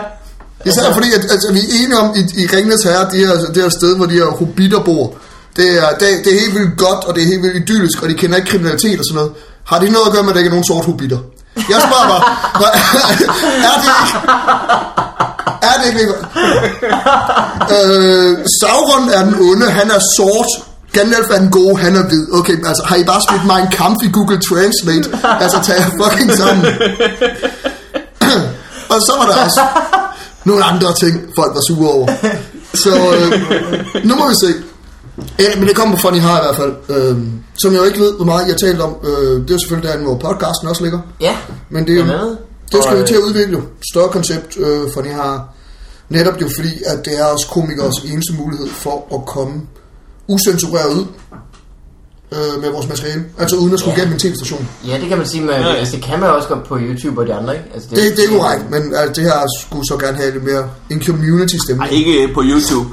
Speaker 1: Især altså, fordi, at altså, vi er enige om, i, i Ringnes Herre, det her, det her sted, hvor de her hobitter bor, det er, det, det er helt vildt godt, og det er helt vildt idyllisk, og de kender ikke kriminalitet og sådan noget. Har det noget at gøre med, at der ikke er nogen sort hobitter? Jeg spørger bare, hvor- er det ikke... Er det ikke... Øh, Sauron er den onde, han er sort, Gandalf er den gode, han er hvid. Okay, altså har I bare smidt mig en kamp i Google Translate? Altså tag jer fucking sammen. og så var der også nogle andre ting, folk var sure over. Så øh, nu må vi se. Ja, men det kommer på Funny Har i hvert fald. Øh, som jeg jo ikke ved, hvor meget jeg har talt om. Øh, det er jo selvfølgelig derinde, hvor podcasten også ligger.
Speaker 3: Ja.
Speaker 1: Men det, er
Speaker 3: Blandt
Speaker 1: jo,
Speaker 3: andet.
Speaker 1: det skal
Speaker 3: Og,
Speaker 1: vi til at
Speaker 3: øh,
Speaker 1: udvikle jo. Større koncept, øh, for det har netop jo fordi, at det er os komikers eneste mulighed for at komme usensureret ud øh, med vores materiale. Altså uden at skulle
Speaker 3: Ja.
Speaker 1: gennem en tv-station.
Speaker 3: øh, Ja, det kan man sige med, ja.
Speaker 2: ja.
Speaker 3: altså det kan man også godt på YouTube og de andre, ikke? Altså,
Speaker 1: Det, det er korrekt, men altså, det her skulle så gerne have lidt mere en
Speaker 2: Ej,
Speaker 1: community-stemning.
Speaker 2: ikke øh, på YouTube.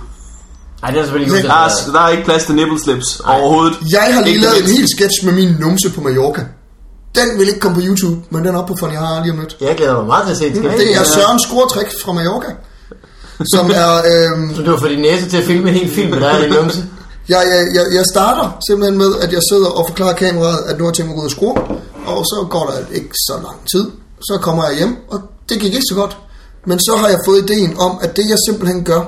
Speaker 3: Nej, det er selvfølgelig
Speaker 1: Det-
Speaker 3: ikke
Speaker 2: Der er, der er ikke plads til nipple slips overhovedet.
Speaker 1: Altså- Jeg har lige
Speaker 2: Ikke
Speaker 1: lavet en
Speaker 2: mindst.
Speaker 1: hel sketch med min numse på Mallorca. Den vil ikke komme på YouTube, men den er oppe på Funny Har lige om lidt.
Speaker 3: Jeg glæder mig meget til at se det.
Speaker 1: Det er Søren Skortræk fra Mallorca, som er... Øh,
Speaker 3: Så du har fået din næse til at filme en hel film med dig og din numse.
Speaker 1: Jeg, jeg, jeg, jeg starter simpelthen med, at jeg sidder og forklarer kameraet, at nu har jeg tænkt mig at gå ud og skrue, og så går der ikke så lang tid. Så kommer jeg hjem, og det gik ikke så godt. Men så har jeg fået ideen om, at det jeg simpelthen gør,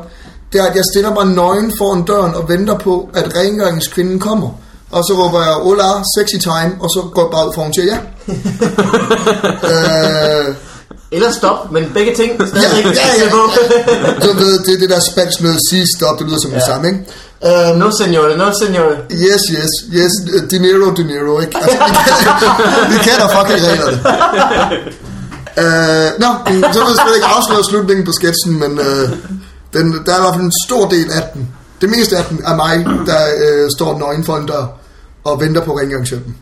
Speaker 1: det er, at jeg stiller mig nøgen foran døren og venter på, at rengøringskvinden kommer. Og så råber jeg, hola, sexy time, og så går jeg bare ud foran til ja. øh,
Speaker 3: Eller stop, men begge ting stadig
Speaker 1: Ja, ja, ja.
Speaker 3: på.
Speaker 1: du ved, det er det der spansk med sige stop, det lyder som ja. det samme, ikke? Øhm,
Speaker 3: No senor, no senor.
Speaker 1: Yes, yes, yes, dinero, dinero, ikke? Altså, vi, kender, vi kender fucking reglerne. Uh, Nå, no, så vil jeg slet ikke afsløre slutningen på sketsen, men uh, den, der er i hvert fald en stor del af den. Det meste af den er mig, der uh, står nøgen for en dør og venter på rengøringshjælpen.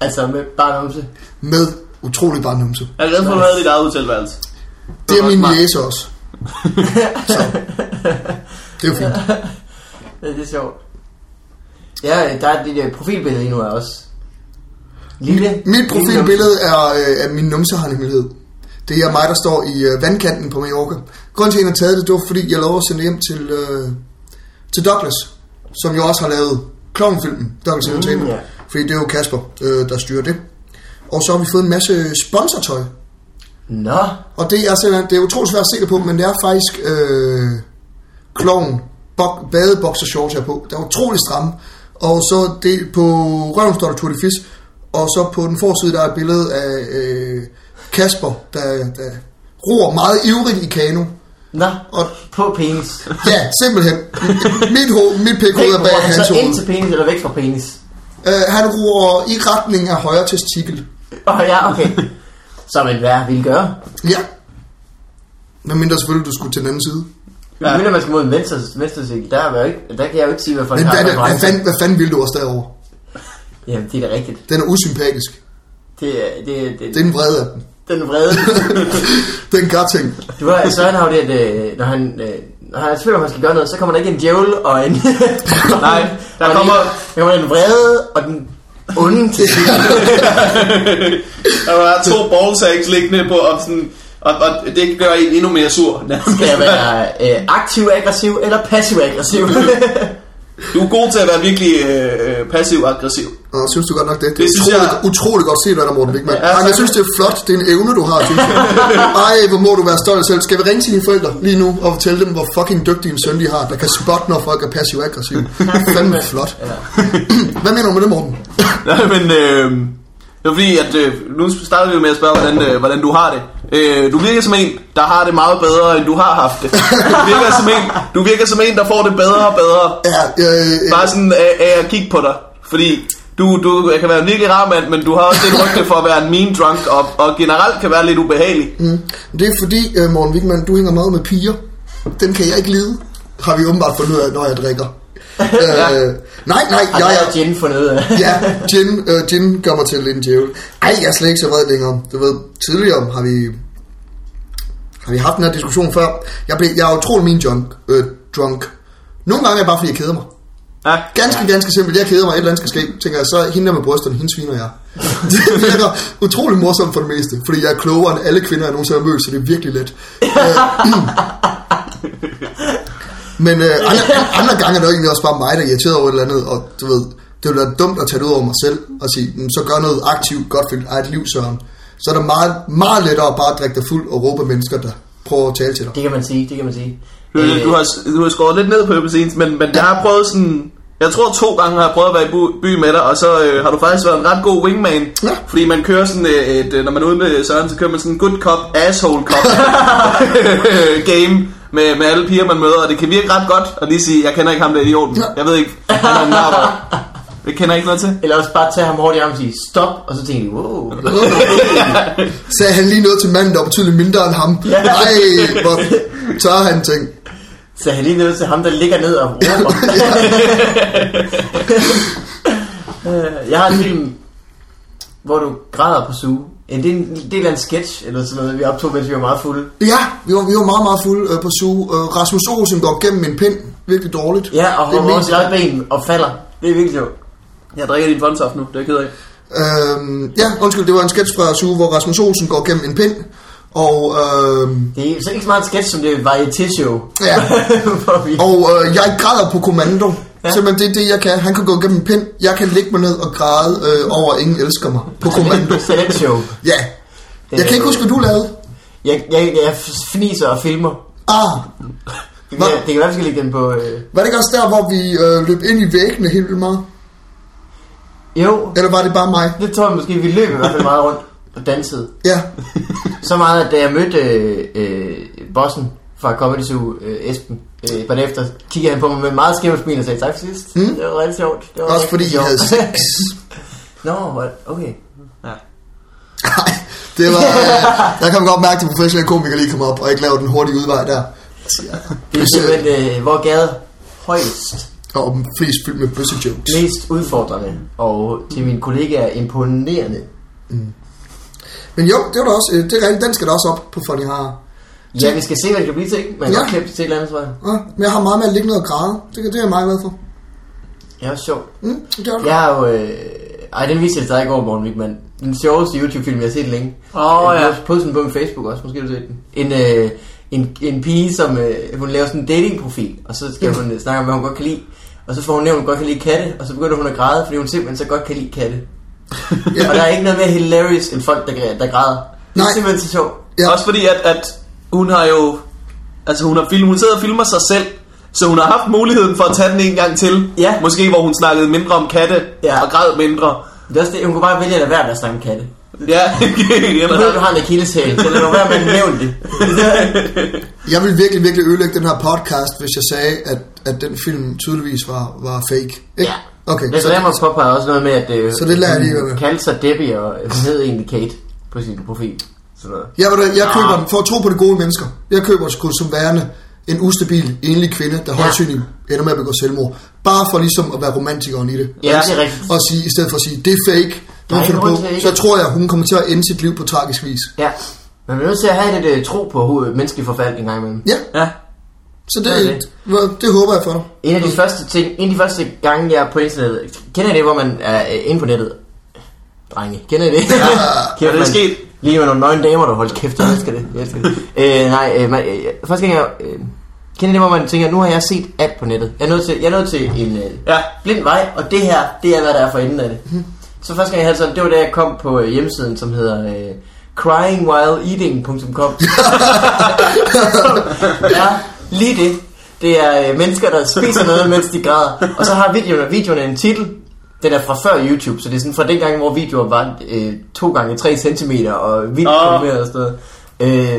Speaker 3: Altså med bare numse.
Speaker 1: Med utrolig bare numse.
Speaker 2: Jeg er glad for, at du havde dit eget hotelværelse.
Speaker 1: Det er
Speaker 2: var
Speaker 1: min
Speaker 2: smart.
Speaker 1: jæse også. Så. Det er jo fint.
Speaker 3: Ja, det er sjovt. Ja, der er dit øh, profilbillede lige nu af os. Lille.
Speaker 1: Mit
Speaker 3: lille numse.
Speaker 1: profilbillede er øh, af min numsehandlemhed. Det er mig, der står i øh, vandkanten på Mallorca. Grunden til, at jeg har taget det, det var, fordi jeg lovede at sende det hjem til, øh, til Douglas, som jo også har lavet klovnfilmen, Douglas Entertainment.
Speaker 3: ja.
Speaker 1: Fordi det er jo Kasper, øh, der styrer det. Og så har vi fået en masse sponsortøj.
Speaker 3: Nå,
Speaker 1: Og det er simpelthen, det er utroligt svært at se det på, men det er faktisk øh, klovn, bok, badeboksershorts her på. Der er utrolig stramme. Og så det på røven står der Tour de Fis, og så på den forside, der er et billede af øh, Kasper, der, der roer meget ivrigt i kano.
Speaker 3: nå.
Speaker 1: Og-
Speaker 3: På penis.
Speaker 1: Ja, simpelthen. Mit, hoved, mit pik hoved er bag
Speaker 3: Hvor han
Speaker 1: hans
Speaker 3: så ind
Speaker 1: hoved.
Speaker 3: til penis eller væk fra penis.
Speaker 1: Øh, han roer i retning af højre testikel.
Speaker 3: Åh oh, ja, okay. Som en vær ville gøre.
Speaker 1: Ja. Men mindre selvfølgelig, du skulle til den anden side.
Speaker 3: Ja. Mindre man skal mod en venstre, venstre side, der, er jo ikke, der kan jeg jo ikke sige, hvad folk
Speaker 1: Men
Speaker 3: har
Speaker 1: hvad,
Speaker 3: af
Speaker 1: hvad,
Speaker 3: referencer.
Speaker 1: fanden, hvad fanden ville du også derovre?
Speaker 3: Jamen, det er da rigtigt.
Speaker 1: Den er usympatisk.
Speaker 3: Det, er- det, det,
Speaker 1: Det
Speaker 3: det,
Speaker 1: er en vrede af den.
Speaker 3: den vrede.
Speaker 1: Den gør ting.
Speaker 3: Du har, Søren har jo det, at øh, når han, øh, når han er i tvivl, om han skal gøre noget, så kommer der ikke en djævel og en...
Speaker 2: Nej, der
Speaker 3: og en-
Speaker 2: kommer-
Speaker 3: Der kommer den vrede og den onde til sidst.
Speaker 2: Der var to ballsacks liggende på, og, sådan, og, og det gør en endnu mere sur.
Speaker 3: Skal jeg være øh, aktiv-aggressiv eller passiv-aggressiv?
Speaker 2: Du er god til at være virkelig øh, øh, passiv-aggressiv.
Speaker 1: Og synes du godt nok det? Det,
Speaker 2: Det
Speaker 1: er
Speaker 2: synes
Speaker 1: utrolig,
Speaker 2: jeg-
Speaker 1: utrolig godt set af dig, Morten Wigman.
Speaker 2: Ja,
Speaker 1: Ja, jeg
Speaker 2: tak.
Speaker 1: synes, det er flot. Det er en evne, du har, synes jeg. Ej, hvor må du være stolt af selv. Skal vi ringe til dine forældre lige nu og fortælle dem, hvor fucking dygtig en søn de har, der kan spotte, når folk er passiv-aggressiv? Fandme flot. Hvad mener du med det, Morten?
Speaker 2: Nej, men øh, det var fordi, at øh, nu starter vi jo med at spørge, hvordan, øh, hvordan du har det. Øh, du virker som en, der har det meget bedre, end du har haft det. Du virker som en, du virker som en der får det bedre og bedre.
Speaker 1: Ja, øh, øh,
Speaker 2: Bare sådan af, af at kigge på dig. Fordi Du, du kan være en virkelig rar mand, men du har også et rygte for at være en mean drunk, og, og generelt kan være lidt ubehagelig.
Speaker 1: Mm. Det er fordi, øh, Morten Wigman, du hænger meget med piger. Den kan jeg ikke lide, har vi åbenbart fundet ud af, når jeg drikker. øh, nej, nej,
Speaker 3: Har
Speaker 1: jeg
Speaker 3: jeg
Speaker 1: er...
Speaker 3: og Jen fundet ud af?
Speaker 1: ja, gin, øh, gin gør mig til en djævel. Ej, jeg er slet ikke så vred længere. Du ved, tidligere har vi, har vi haft den her diskussion før. Jeg, blev, jeg er utrolig min junk, øh, drunk. Nogle gange er det bare, fordi jeg keder mig.
Speaker 2: Ja.
Speaker 1: Ganske, ganske simpelt. Jeg keder mig, et eller andet skal ske. Tænker jeg, så hende der med brysterne, hende sviner jeg. Det virker utrolig morsomt for det meste, fordi jeg er klogere end alle kvinder, jeg nogensinde har mødt, så det er virkelig let. Øh, Men øh, andre, andre gange er det jo egentlig også bare mig, der er irriteret over et eller andet, og du ved, det ville være dumt at tage det ud over mig selv og sige, "Mm, så gør noget aktivt godt for dit eget liv, Søren. Så er det meget, meget lettere bare at drikke dig fuld og råbe af mennesker, der prøver at tale til dig.
Speaker 3: Det kan man sige, det kan man sige.
Speaker 2: Du,
Speaker 3: Øh,
Speaker 2: du, har, du har skåret lidt ned på Øbesens, men, men jeg har prøvet sådan... Jeg tror to gange har jeg prøvet at være i bu- by med dig, og så øh, har du faktisk været en ret god wingman.
Speaker 1: Ja.
Speaker 2: Fordi man kører sådan øh, et... øh, Når man er ude med Søren, så kører man sådan en good cop, asshole cop game med, med alle piger, man møder. Og det kan virke ret godt at lige sige, jeg kender ikke ham der idioten.
Speaker 1: Ja.
Speaker 2: Jeg ved ikke, han er en narver. Det kender jeg ikke noget til.
Speaker 3: Eller også bare tage ham hårdt i armen og sige stop, og så tænker de, wow.
Speaker 1: Sagde han lige noget til manden, der var betydeligt mindre end ham.
Speaker 3: Ja.
Speaker 1: Nej, hvor tør han ting.
Speaker 3: Så han lige ned til ham, der ligger ned og råber. Øh, jeg har en film, hvor du græder på suge. Ja, det er en del af en sketch, eller sådan noget, vi optog, mens vi var meget fulde.
Speaker 1: Ja, vi var, vi var meget, meget fulde øh, på suge. Øh, Rasmus Olsen går gennem en pind. Virkelig dårligt.
Speaker 3: Ja, og
Speaker 1: det er
Speaker 3: hopper over
Speaker 1: mest-
Speaker 3: sit eget ben og falder. Det er virkelig sjovt.
Speaker 2: Jeg drikker din fondsaft nu, det er jeg ked af.
Speaker 1: Øhm, ja, undskyld, det var en sketch fra Suge, hvor Rasmus Olsen går gennem en pind, og, øhm,
Speaker 3: Det er så ikke så meget en sketch, som det er et variety-show.
Speaker 1: ja,
Speaker 3: hvor vi...
Speaker 1: og øh, jeg græder på kommando. Ja. Simpelthen, det er det, jeg kan. Han kan gå gennem en pind, jeg kan ligge mig ned og græde øh, over, at ingen elsker mig på
Speaker 3: Oh,
Speaker 1: kommando.
Speaker 3: Select show.
Speaker 1: Ja, jeg kan ikke huske, hvad du lavede.
Speaker 3: Jeg, jeg, jeg fniser og filmer.
Speaker 1: Ah,
Speaker 3: Det
Speaker 1: Hvad?
Speaker 3: kan, det kan være, vi skal lægge den på... Øh...
Speaker 1: var det ikke også der, hvor vi øh, løb ind i væggene helt vildt meget?
Speaker 3: Jo,
Speaker 1: Eller var det bare mig?
Speaker 3: det tror jeg måske, vi løb i hvert fald meget rundt og dansede.
Speaker 1: Ja,
Speaker 3: Så meget, at da jeg mødte øh, øh, bossen fra Comedy Zoo, øh, Esben, øh, bare efter, kiggede han på mig med en meget skæv smil og sagde, tak for sidst. Mm. Det var rigtig sjovt. Det var
Speaker 1: Hmm? også
Speaker 3: rigtig
Speaker 1: fordi I
Speaker 3: sjovt."
Speaker 1: havde sex.
Speaker 3: Nå, hvor- okay.
Speaker 2: Ja.
Speaker 1: Nej, det var... Øh, der kan man godt mærke, at de professionelle komikere lige kommer op og ikke laver den hurtige udvej der.
Speaker 3: Det er simpelthen, øh, hvor gader højst,
Speaker 1: Og den flest fyldt med bøsse jokes.
Speaker 3: mest udfordrende, og til mine kollegaer imponerende.
Speaker 1: Men jo, det var da også, øh, det er rigtigt, den skal da også op på Funny Har.
Speaker 3: Ja, vi skal se, hvad det kan blive til, ikke? Man kan
Speaker 1: Ja.
Speaker 3: godt klippe det til et eller andet, tror jeg.
Speaker 1: Ja, men jeg har meget med at ligge ned og græde. Det, kan- det er jeg meget glad for.
Speaker 3: Ja, også sjovt.
Speaker 1: Mm, det er det.
Speaker 3: Jeg har jo... Øh... Ej, den viste jeg dig i går, Morten Wigman. Den sjoveste YouTube-film, jeg har set længe.
Speaker 2: Åh,
Speaker 3: Jeg
Speaker 2: ja.
Speaker 3: har postet den på min Facebook også, måske har du set den. En, øh, en, en pige, som øh, hun laver sådan en datingprofil, og så skal hun øh, snakke om, hvad hun godt kan lide. Og så får hun nævnt, at hun godt kan lide katte, og så begynder hun at græde, fordi hun simpelthen så godt kan lide katte.
Speaker 1: Ja.
Speaker 3: Og der er ikke noget mere hilarious end folk, der, græ- der græder. Det er
Speaker 1: Nej.
Speaker 3: simpelthen så sjovt.
Speaker 1: Ja.
Speaker 2: Ja. Også fordi, at, at hun har jo... Altså, hun, har film, hun sidder og filmer sig selv, så hun har haft muligheden for at tage den en gang til.
Speaker 3: Ja.
Speaker 2: Måske hvor hun snakkede mindre om katte
Speaker 3: Ja.
Speaker 2: og græd mindre.
Speaker 3: Det er også det, hun kunne bare vælge at lade være med at snakke om katte.
Speaker 2: Ja,
Speaker 3: Du ved, du har en akilleshæl, så lad nu være med at nævne det.
Speaker 1: Jeg ville virkelig, virkelig ødelægge den her podcast, hvis jeg sagde, at, at den film tydeligvis var, var fake. Ikke?
Speaker 3: Ja.
Speaker 1: Okay,
Speaker 3: Men
Speaker 1: så,
Speaker 3: så lad mig påpege også noget med, at øh,
Speaker 1: Så det lader jeg lige være med.
Speaker 3: hun kaldte sig Debbie, og hun hed egentlig Kate på sin profil. Sådan noget.
Speaker 1: jeg, vil, da- jeg køber den, for at tro på de gode mennesker. Jeg køber sgu som værende en ustabil, enlig kvinde, der højst sandsynligt ender med at begå selvmord. Bare for ligesom at være romantikeren i det.
Speaker 3: Ja, det er rigtigt.
Speaker 1: Og sige, i stedet for at sige, det er fake, det
Speaker 3: Der er
Speaker 1: er
Speaker 3: ingen
Speaker 1: på,
Speaker 3: grund til ikke.
Speaker 1: så tror jeg, hun kommer til at ende sit liv på tragisk vis.
Speaker 3: Ja. Man er nødt til at have lidt øh, tro på hovedet, menneskelig forfald en gang imellem.
Speaker 1: Ja,
Speaker 2: ja.
Speaker 1: så det,
Speaker 3: Okay.
Speaker 1: det, det håber jeg for dig.
Speaker 3: En af de første ting, en af de første gange, jeg er på internettet, kender I det, hvor man er øh, inde på nettet? Drenge, kender I det? Ja,
Speaker 2: Ja, det er sket.
Speaker 3: Lige med nogle nøgne damer, der holdt kæft, jeg elsker det. Jeg elsker det. Øh, nej, øh, man, øh, første gang jeg... Øh, kender I det, hvor man tænker, nu har jeg set alt på nettet. Jeg er nødt til, jeg er nødt til en øh,
Speaker 2: Ja.
Speaker 3: blind vej, og det her, det er, hvad der er for enden af det. Så første gang jeg havde sådan, det var da jeg kom på øh, hjemmesiden, som hedder... Øh, cryingwhileeating.com Ja, lige det. Det er øh, mennesker, der spiser noget, mens de græder. Og så har videoen, videoen en titel. Den er fra før YouTube, så det er sådan fra dengang, hvor videoer var øh, 2 gange 3 cm og vildt
Speaker 2: Åh.
Speaker 3: oh. og sådan noget. Øh,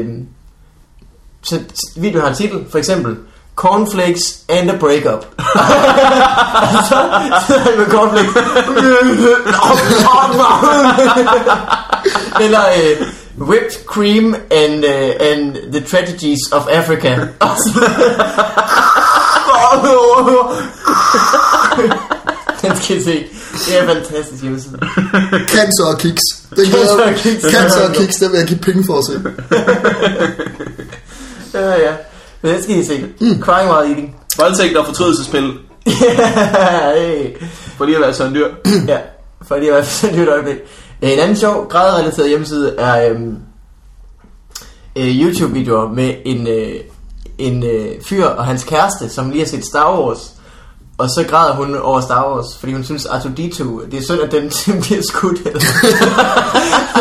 Speaker 3: så t- videoen har en titel, for eksempel. cornflakes and a breakup. Og så sidder han med cornflakes. Eller øh, whipped cream and, øh, and the tragedies of Africa. Og så- Den skal I se. Det er fantastisk hjemmeside.
Speaker 1: Cancer og kiks. Den
Speaker 3: Cancer
Speaker 1: glæder,
Speaker 3: og kiks.
Speaker 1: cancer og kiks, der vil jeg give penge for at se.
Speaker 3: Ja, ja. Men det skal I se. Crying while eating.
Speaker 2: Voldtægt og fortrydelsespil,
Speaker 3: Ja, hey.
Speaker 2: for lige at være sådan dyr.
Speaker 3: Ja, for det var sådan et øjeblik. Øh, En anden sjov gradrelateret hjemmeside er øhm, øh, YouTube-videoer med en, øh, en øh, fyr og hans kæreste, som lige har set Star Wars. Og så græder hun over Star Wars, fordi hun synes, at R2-D2, det er synd, at den bliver skudt.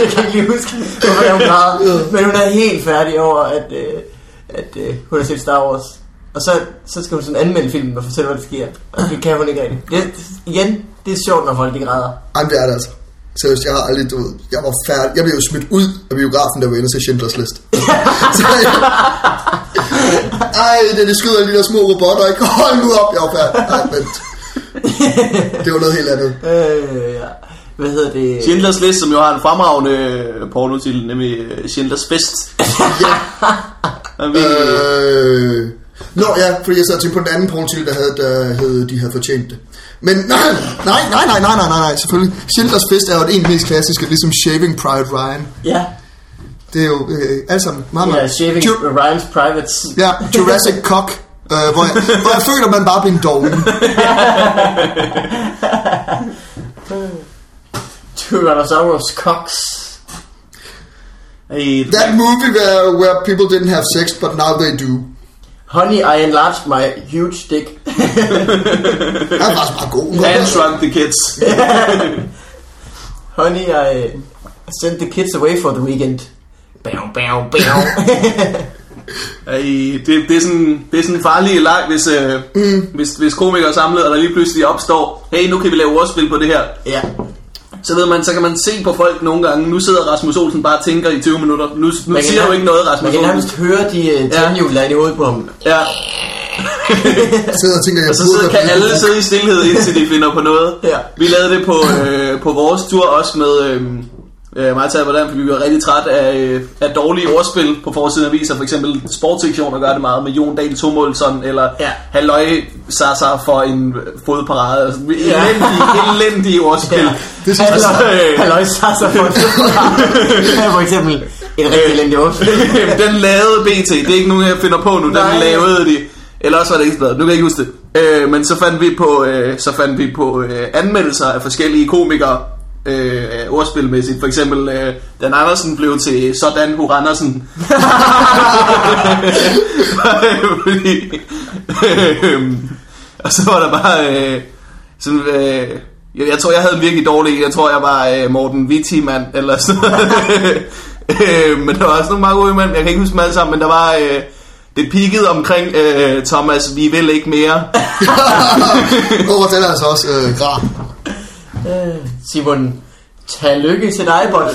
Speaker 3: jeg kan ikke lige huske, hvorfor hun græder. Men hun er helt færdig over, at, øh, at øh, hun har set Star Wars. Og så, så skal hun sådan anmelde filmen og fortælle, hvad der sker. Og det kan hun ikke rigtigt. Det, igen, det er sjovt, når folk ikke græder.
Speaker 1: Jamen, det er det altså. Seriøst, jeg har aldrig, du ved, jeg var færdig. Jeg blev jo smidt ud af biografen, der var inde og se Schindlers List. Så jeg, ej, det, det skyder lige der små robotter, ikke? Hold nu op, jeg var færdig. Ej, vent. Det var noget helt andet.
Speaker 3: Øh, ja. Hvad hedder det?
Speaker 2: Schindlers List, som jo har en fremragende øh, pornotitel, nemlig øh, Schindlers Fest. Ja. vi, øh,
Speaker 1: Øh... Nå ja, fordi jeg sad til på den anden porno der havde, der hed, de havde fortjent det. Men nej, nej, nej, nej, nej, nej, nej, nej, selvfølgelig. Schindlers Fest er jo det en af de mest klassiske, ligesom Shaving Private Ryan.
Speaker 3: Ja.
Speaker 1: Det er jo øh, alt sammen meget,
Speaker 3: Ja,
Speaker 1: meget...
Speaker 3: Shaving
Speaker 1: Ju-
Speaker 3: Ryan's Privates.
Speaker 1: Ja, Jurassic Cock, øh, hvor, jeg, hvor jeg føler, man bare bliver en dogen.
Speaker 3: Tyrannosaurus Cox.
Speaker 2: i,
Speaker 1: That movie where, where people didn't have sex, but now they do.
Speaker 3: Honey, I enlarged my huge dick.
Speaker 1: Den er faktisk meget god.
Speaker 2: and Shrunk the Kids.
Speaker 3: Honey, I uh, sent the kids away for the weekend. Bow, bow, bow.
Speaker 2: Ej, det, det, er sådan, det er sådan en farlig leg, hvis, øh, mm. hvis, hvis komikere er samlet, og der lige pludselig opstår, hey, nu kan vi lave ordspil på det her.
Speaker 3: ja.
Speaker 2: Så ved man, så kan man se på folk nogle gange, nu sidder Rasmus Olsen bare og tænker i 20 minutter. Nu, nu
Speaker 3: Man kan
Speaker 2: siger du
Speaker 3: nær-
Speaker 2: ikke noget,
Speaker 3: Man
Speaker 2: Rasmus
Speaker 3: kan
Speaker 2: Olsen.
Speaker 3: nærmest høre de uh, tandhjul, der er inde i hovedet på ham.
Speaker 2: Ja,
Speaker 1: Jeg sidder og tænker, jeg
Speaker 2: og så
Speaker 1: burde
Speaker 2: sidder,
Speaker 1: have
Speaker 2: kan
Speaker 1: blevet-
Speaker 2: alle sidde i stillhed, indtil de finder på noget.
Speaker 3: Ja.
Speaker 2: Vi lavede det på, øh, på vores tur også med øh, øh, Martha og hvordan, fordi vi var rigtig træt af, øh, af dårlige ordspil på forsiden af aviser. For eksempel sportssektioner gør det meget med Jon Dahl Tomolson, eller
Speaker 3: Ja.
Speaker 2: ja. Halløj Sasa for en fodparade. Altså,
Speaker 3: Ja.
Speaker 2: Elendige, elendige ordspil.
Speaker 3: Ja.
Speaker 2: Ja.
Speaker 1: Det synes jeg
Speaker 3: Halløj,
Speaker 2: så, øh.
Speaker 3: halløj, sasser for Her for eksempel en rigtig elendig ordspil.
Speaker 2: Øh, den lavede BT. Det er ikke nogen, jeg finder på nu. Den
Speaker 3: Nej.
Speaker 2: Nej. lavede de. Eller også var det Ekstrabladet. Nu kan jeg ikke huske det. Øh, men så fandt vi på, øh, så fandt vi på øh, anmeldelser af forskellige komikere. Øh, ordspilmæssigt. For eksempel, øh, Dan Andersen blev til Sådan Hur Andersen. Fordi, øh, og så var der bare... Øh, sådan, øh, jeg, jeg tror, jeg havde en virkelig dårlig en. Jeg tror, jeg var øh, Morten Wittig-mand, eller sådan øh, Men der var også nogle meget gode mænd. Jeg kan ikke huske dem alle sammen, men der var... Øh, det pikkede omkring øh, Thomas, vi vil ikke mere.
Speaker 1: Åh, den er altså også øh, rar.
Speaker 3: Øh, Simon, tag lykke til dig, Bolle.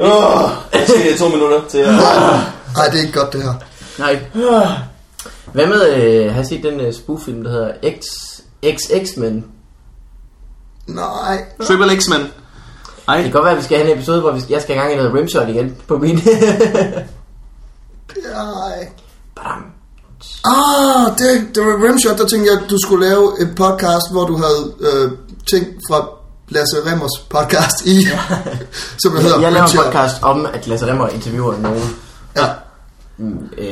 Speaker 2: oh, jeg siger to minutter til at...
Speaker 1: Nej, det er ikke godt, det her.
Speaker 3: Nej.
Speaker 2: Ah.
Speaker 3: Hvad med, øh, har I set den øh, spoof-film, der hedder X, XX-Men?
Speaker 1: Nej.
Speaker 2: Triple X-Men.
Speaker 3: Det
Speaker 2: Ej,
Speaker 3: kan godt være, at vi skal have en episode, hvor vi skal, jeg skal i gang i noget rimshot igen på min.
Speaker 1: Nej.
Speaker 3: Bam.
Speaker 1: Ah, det, det var Rimshot, der tænkte jeg, at du skulle lave et podcast, hvor du havde øh, ting fra Lasse Remmers podcast i, som der hedder
Speaker 3: Jeg laver en
Speaker 1: Rimshot.
Speaker 3: podcast om, at Lasse Remmer interviewer nogen
Speaker 1: Ja.
Speaker 3: mm, øh,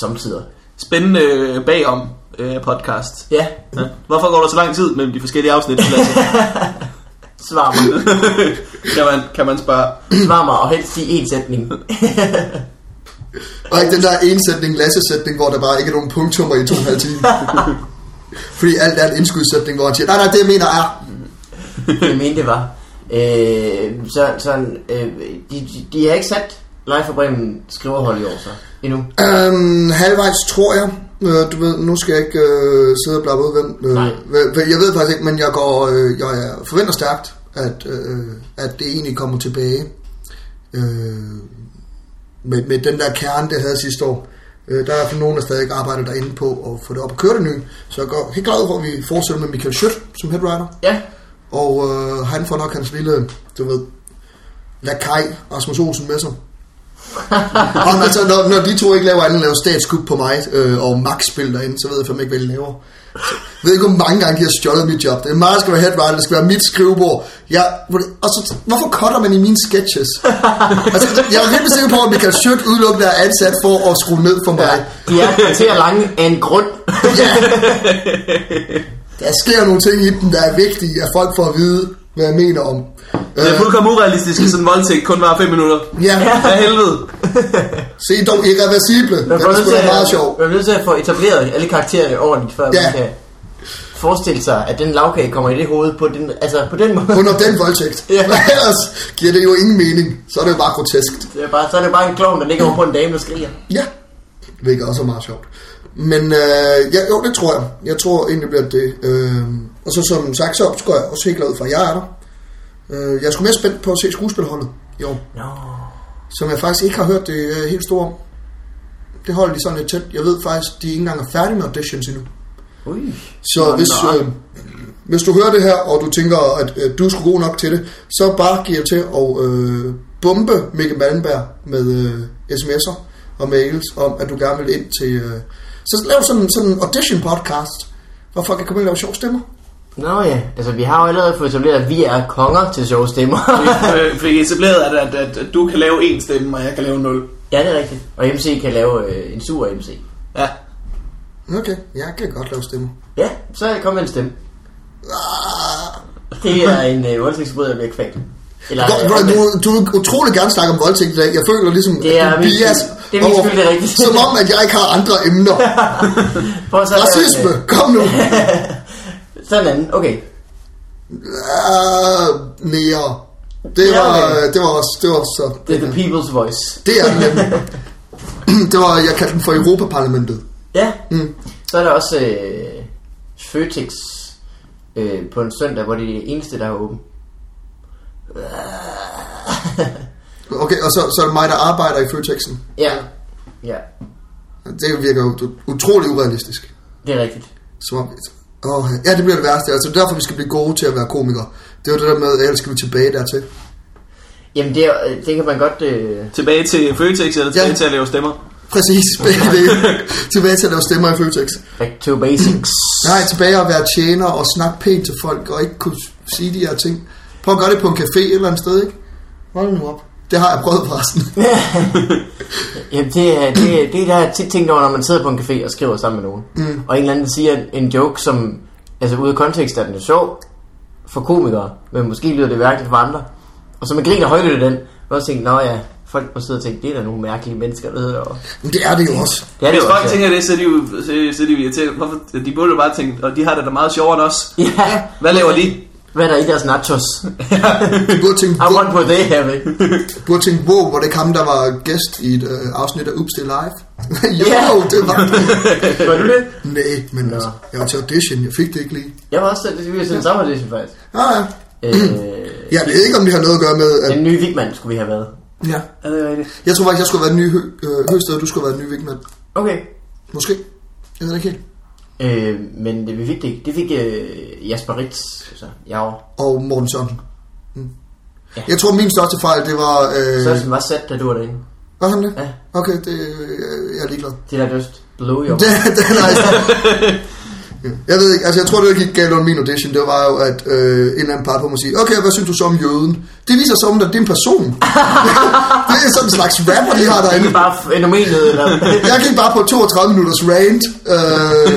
Speaker 3: samtider.
Speaker 2: spændende øh, bagom øh, podcast.
Speaker 3: Ja,
Speaker 2: Ja. Hvorfor går der så lang tid mellem de forskellige afsnit? Lasse?
Speaker 3: svar mig.
Speaker 2: kan, man, kan man spørge.
Speaker 3: Svar mig, og helst sige én sætning.
Speaker 1: Og ikke den der ene sætning, Lasse-sætning, hvor der bare ikke er nogen punktummer i to og en halv time. Fordi alt er en indskudssætning, hvor han siger, nej, nej, det jeg mener er...
Speaker 3: jeg mente det var. Øh, så, sådan, øh, de, de, de har ikke sat Live for Bremen skriverhold i år så, endnu.
Speaker 1: Øhm, halvvejs tror jeg. Øh, du ved, nu skal jeg ikke øh, sidde og blappe ud, hvem... Øh,
Speaker 3: Nej.
Speaker 1: hva- hva- jeg ved faktisk ikke, men jeg, går, øh, jeg jeg forventer stærkt, at, øh, at det egentlig kommer tilbage. Øh, med, med den der kerne, det havde sidste år. Øh, der er for nogen, der stadig arbejder derinde på at få det op at køre det nye. Så jeg går helt glad for, at vi fortsætter med Michael Schødt som headwriter.
Speaker 3: Ja.
Speaker 1: Og øh, han får nok hans lille, du ved, lakaj Rasmus Olsen med sig. og altså, når, når de to ikke laver andet, end laver statskup på mig øh, og Max spil derinde, så ved jeg fandme ikke, hvad de laver. Så, jeg ved ikke, hvor mange gange de har stjålet mit job. Det er meget, skal være headwriter, det skal være mit skrivebord. Jeg, og så, hvorfor cutter man i mine sketches? altså, jeg er rimelig sikker på, at Michael Schødt udelukkende er ansat for at skrue ned for mig.
Speaker 3: De er et kvarter lange af en grund.
Speaker 1: Der sker nogle ting i dem, der er vigtige, at folk får at vide, hvad jeg mener om. Øh,
Speaker 2: Det er fuldkommen urealistisk, at sådan en voldtægt kun var 5 minutter.
Speaker 1: Ja,
Speaker 2: Hvad helvede?
Speaker 1: se dog irreversible. Den
Speaker 3: Man bliver
Speaker 1: er
Speaker 3: nødt
Speaker 1: sgu
Speaker 3: til
Speaker 1: da meget
Speaker 3: at-
Speaker 1: sjov.
Speaker 3: Man er nødt til at få etableret alle karaktererne ordentligt, før
Speaker 1: Ja.
Speaker 3: man kan forestille sig, at den lavkage kommer i det hoved på den, altså på den måde.
Speaker 1: Under den voldtægt.
Speaker 3: Ja.
Speaker 1: Men ellers giver det jo ingen mening. Så er det jo bare groteskt.
Speaker 3: Det er bare, så er det bare en klovn, der ligger over på en dame, der skriger.
Speaker 1: Ja, hvilket også er meget sjovt. Men øh, ja, jo, det tror jeg. Jeg tror egentlig bliver det. Øh, og så som sagt, så opskår jeg også helt glad for, at jeg er der. Øh, jeg er sgu mere spændt på at se skuespilholdet i år.
Speaker 3: Nå.
Speaker 1: Som jeg faktisk ikke har hørt det øh, helt store om. Det holder de sådan lidt tæt. Jeg ved faktisk, de ikke engang er færdige med auditions endnu.
Speaker 3: Ui.
Speaker 1: Så hvis, øh, hvis du hører det her, og du tænker, at øh, du er sgu god nok til det, så bare giv til at øh, bombe Mikkel Malmberg med øh, sms'er og mails om, at du gerne vil ind til... Øh, så lav sådan sådan en audition podcast, hvor folk kan komme ind og lave sjov stemmer.
Speaker 3: Nå ja, altså vi har jo allerede fået etableret, at vi er konger til showstemmer.
Speaker 2: Vi fik Øh, etableret, at, at, at, at du kan lave en stemme, og jeg kan lave nul.
Speaker 3: ja, det er rigtigt. Og MC kan lave øh, en sur MC.
Speaker 2: Ja.
Speaker 1: Okay, jeg kan godt lave stemmer.
Speaker 3: Ja, så kom med en stemme.
Speaker 1: Ah.
Speaker 3: Det er en øh, voldtægtsforbryder, der bliver kvalt. Eller, øh,
Speaker 1: Hvor- hvor- Du, du vil utrolig gerne snakke om voldtægt i dag. Jeg føler ligesom,
Speaker 3: Det er
Speaker 1: at du
Speaker 3: min
Speaker 1: bias
Speaker 3: skyld. Det er min
Speaker 1: over-
Speaker 3: skyld, det er rigtigt.
Speaker 1: Som om, at jeg ikke har andre emner.
Speaker 3: Prøv at så lave en, øh,
Speaker 1: Racisme, kom nu.
Speaker 3: Sådan en anden, okay.
Speaker 1: Uh, nære. Det
Speaker 3: Ja,
Speaker 1: var,
Speaker 3: okay.
Speaker 1: det var også, det var så.
Speaker 3: Det er the people's voice.
Speaker 1: Det er den nemlig. Det var, jeg kaldte den for Europaparlamentet.
Speaker 3: Ja.
Speaker 1: Mm.
Speaker 3: Så er der også øh, Føtex øh, på en søndag, hvor det er det eneste, der er åben.
Speaker 1: Okay, og så, så er det mig, der arbejder i Føtexen.
Speaker 3: Ja. Ja,
Speaker 1: Det virker jo ut- utrolig urealistisk.
Speaker 3: det er rigtigt.
Speaker 1: Som om, oh, ja, det bliver det værste. Altså, det er derfor, vi skal blive gode til at være komikere. Det er jo det der med, at ellers skal vi tilbage dertil.
Speaker 3: Jamen, det, er, øh, det kan man godt... Øh,
Speaker 2: Tilbage til Føtex, eller tilbage
Speaker 1: Ja.
Speaker 2: ja. til at lave stemmer.
Speaker 1: Præcis, begge det. tilbage til at lave stemmer i Føtex.
Speaker 3: back to basics.
Speaker 1: Nej, tilbage at være tjener og snakke pænt til folk og ikke kunne sige de her ting. Prøv at gøre det på en café et eller andet sted, ikke? Hold nu op. Det har jeg prøvet forresten.
Speaker 3: Jamen, det er det, er- det er der, jeg tit tænkt over, når man sidder på en café og skriver sammen med nogen. Mm. Og en eller anden siger en- en joke, som... Altså, ude af kontekst er den jo sjov for komikere, men måske lyder det mærkeligt for andre. Og så man griner højt af den, og så tænker, nå ja, folk må sidde og tænke, det er da nogle mærkelige mennesker, der hedder derovre.
Speaker 1: Men det er det jo også.
Speaker 3: Ja,
Speaker 2: Hvis
Speaker 3: jo
Speaker 2: folk
Speaker 3: også-
Speaker 2: tænker det, så er de jo så, så er de jo irriterende. Hvorfor? De burde jo bare tænke, og de har det da meget sjovere end os.
Speaker 3: Ja.
Speaker 2: Hvad laver de?
Speaker 3: Hvad er der i deres nachos?
Speaker 1: Du burde tænke,
Speaker 3: I
Speaker 1: wow,
Speaker 3: want what they have, ikke?
Speaker 1: du burde tænke, wow, var det ikke ham, der var gæst i et øh, afsnit af Oops, det er live? jo,
Speaker 3: Ja.
Speaker 1: det var det.
Speaker 3: Var du det?
Speaker 1: Nej, men altså, jeg var til audition, jeg fik det ikke lige.
Speaker 3: Jeg var også det, vi var til en samme audition, faktisk.
Speaker 1: Ah, ja.
Speaker 3: Øh,
Speaker 1: Jeg ved ikke, om det har noget at gøre med... At,
Speaker 3: den nye Vigman skulle vi have været.
Speaker 1: ja.
Speaker 2: Ja, det er rigtigt.
Speaker 1: Jeg tror faktisk, jeg skulle være den nye hø, øh, høsted, og du skulle være den nye vigmand.
Speaker 3: Okay.
Speaker 1: Måske. Jeg ved det ikke helt.
Speaker 3: Øh, men det, vi fik det ikke. Det fik øh, Jasper Ritz, så jeg var.
Speaker 1: Og Morten Sørensen. Mm.
Speaker 3: Ja.
Speaker 1: Jeg tror, min største fejl, det var... Øh,
Speaker 3: Sørensen var sat, da du var derinde.
Speaker 1: var han det?
Speaker 3: Ja.
Speaker 1: Okay, det, øh, jeg er ligeglad.
Speaker 3: Det der just blow your
Speaker 1: Det, det er nice. Jeg ved ikke, altså jeg tror, det der gik galt under min audition, det var jo, at øh, en eller anden part på mig sige, okay, hvad synes du så om jøden? Det viser sig om, at det er en person. det er sådan en slags rapper, de har derinde.
Speaker 3: Ikke bare fænomenet, eller...
Speaker 1: Jeg gik bare på 32 minutters rant, øh,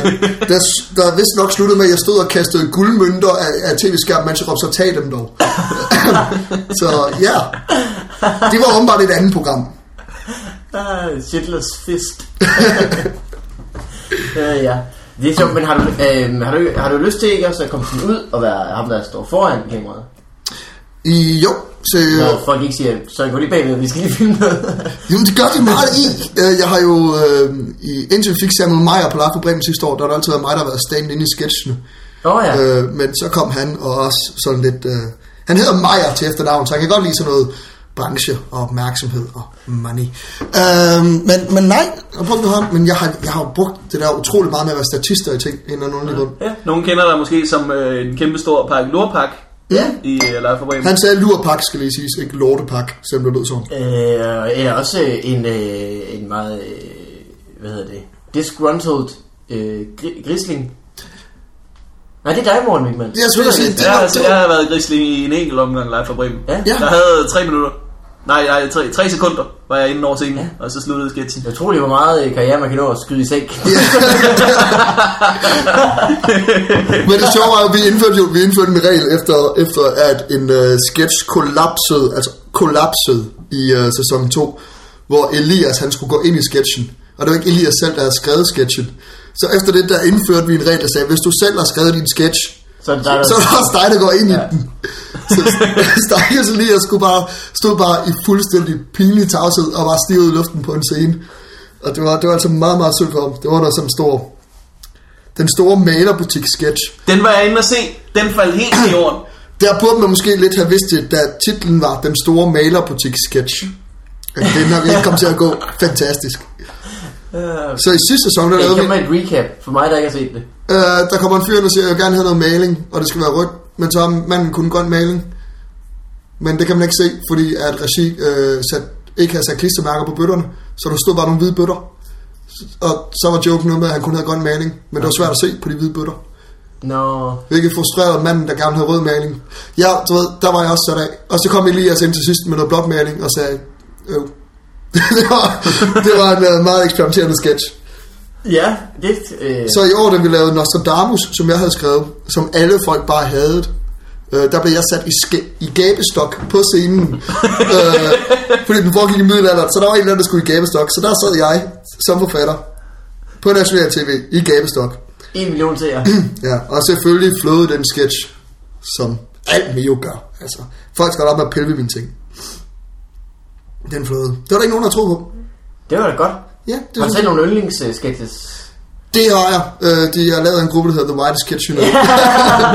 Speaker 1: der, der vist nok sluttede med, at jeg stod og kastede guldmønter af, af tv-skærmen, mens jeg råbte, så tag dem dog. så ja, det var åbenbart et andet program.
Speaker 3: Ah, Shitless fist. øh, ja. Det er sjovt, men har du, øh, har, du, har du lyst til ikke også at komme sådan ud og være ham, der står foran kameraet?
Speaker 1: I, jo, så, øh,
Speaker 3: Når folk ikke siger, så gå lige bagved, vi skal lige filme noget.
Speaker 1: Jamen, det gør de meget i. Øh, Jeg har jo, øh, i, indtil vi fik Samuel Meyer på Lars på Bremen sidste år, der har det altid været mig, der har været stand inde i sketchene.
Speaker 3: Åh oh, ja. Øh.
Speaker 1: Øh, men så kom han og også sådan lidt... Øh, han hedder Meyer til efternavn, så han kan godt lide sådan noget branche og opmærksomhed og money. Øhm, men, men nej, jeg har brugt det her, men jeg har, jeg har jo brugt det der utrolig meget med at være statister i ting, en eller anden grund.
Speaker 2: Ja, nogen kender dig måske som øh, en kæmpe stor pakke lurpak
Speaker 1: Ja.
Speaker 2: i øh, Leif og Bremen.
Speaker 1: Han sagde lurpak, skal lige siges, ikke lortepak, selvom det lød sådan.
Speaker 4: Øh, eller også en, øh, en meget, øh, hvad hedder det, disgruntled øh, gri- grisling. Nej, det er dig, Morten Wigman.
Speaker 1: Jeg skulle sige, det
Speaker 2: Ja,
Speaker 1: var,
Speaker 2: altså,
Speaker 1: det
Speaker 2: jeg
Speaker 1: var,
Speaker 2: har været grisling i en enkelt omgang live for Bremen.
Speaker 4: Ja.
Speaker 1: Ja.
Speaker 2: Jeg havde tre minutter. Nej, nej tre, tre sekunder var jeg inden over scenen, ja. og så sluttede sketchen.
Speaker 4: Det er utroligt, hvor meget øh, karriere man kan nå at skyde i sænk.
Speaker 1: men det sjove var, at vi indførte jo vi indførte en regel efter, efter at en uh, sketch kollapsede, altså kollapsede i uh, sæson 2, hvor Elias han skulle gå ind i sketchen. Og det var ikke Elias selv, der havde skrevet sketchen. Så efter det, der indførte vi en regel, der sagde, hvis du selv har skrevet din sketch,
Speaker 4: Så er det dig, der...
Speaker 1: så var det også dig, der går ind ja. i den. Så stakkels Elias skulle bare, stod bare i fuldstændig pinlig tavshed og var stiv i luften på en scene. Og det var, det var altså meget, meget synd for ham. Det var der sådan en stor, den store malerbutik-sketch.
Speaker 2: Den var jeg inde at se. Den faldt helt i jorden.
Speaker 1: Der burde man måske lidt have vidst det, da titlen var Den store malerbutik-sketch. At Den har vi ikke kommet til at gå fantastisk. Så i sidste sæson, der
Speaker 4: Hey,
Speaker 1: lavede vi...
Speaker 4: kom med et recap, for mig, der ikke har set det.
Speaker 1: Øh, der kommer en fyr, der siger, jeg vil gerne have noget maling, og det skal være rødt. Men så har manden kun grøn maling. Men det kan man ikke se, fordi at regi øh, sat, ikke havde sat klistermærker på bøtterne. Så der stod bare nogle hvide bøtter. Og så var joken noget med, at han kun havde grøn maling. Men det var svært at se på de hvide bøtter.
Speaker 4: Nå...
Speaker 1: Hvilket frustrerede manden, der gerne havde rød maling. Ja, du ved, der var jeg også sat af. Og så kom Elias ind til sidst med noget blåt maling og sagde, øv. det, var, det var en øh, meget eksperimenterende sketch.
Speaker 4: Ja, det... Øh,
Speaker 1: Så i år, da vi lavede Nostradamus, som jeg havde skrevet, som alle folk bare havde, øh, der blev jeg sat i, ske- i gabestok på scenen. øh, fordi den foregik i middelalderen, så der var en eller anden, der skulle i gabestok. Så der sad jeg som forfatter på National TV i gabestok.
Speaker 4: en million til jer.
Speaker 1: Ja, og selvfølgelig flåede den sketch, som alt med jo gør. Altså, folk skal op med at pille ved mine ting. Den flåede. Det var der ikke nogen, der troede på.
Speaker 4: Det var da godt.
Speaker 1: Ja, det,
Speaker 4: Har du
Speaker 1: var
Speaker 4: selv nogle yndlingssketches?
Speaker 1: Det har jeg. Øh, de har lavet en gruppe, der hedder The Whitest Kids You Know.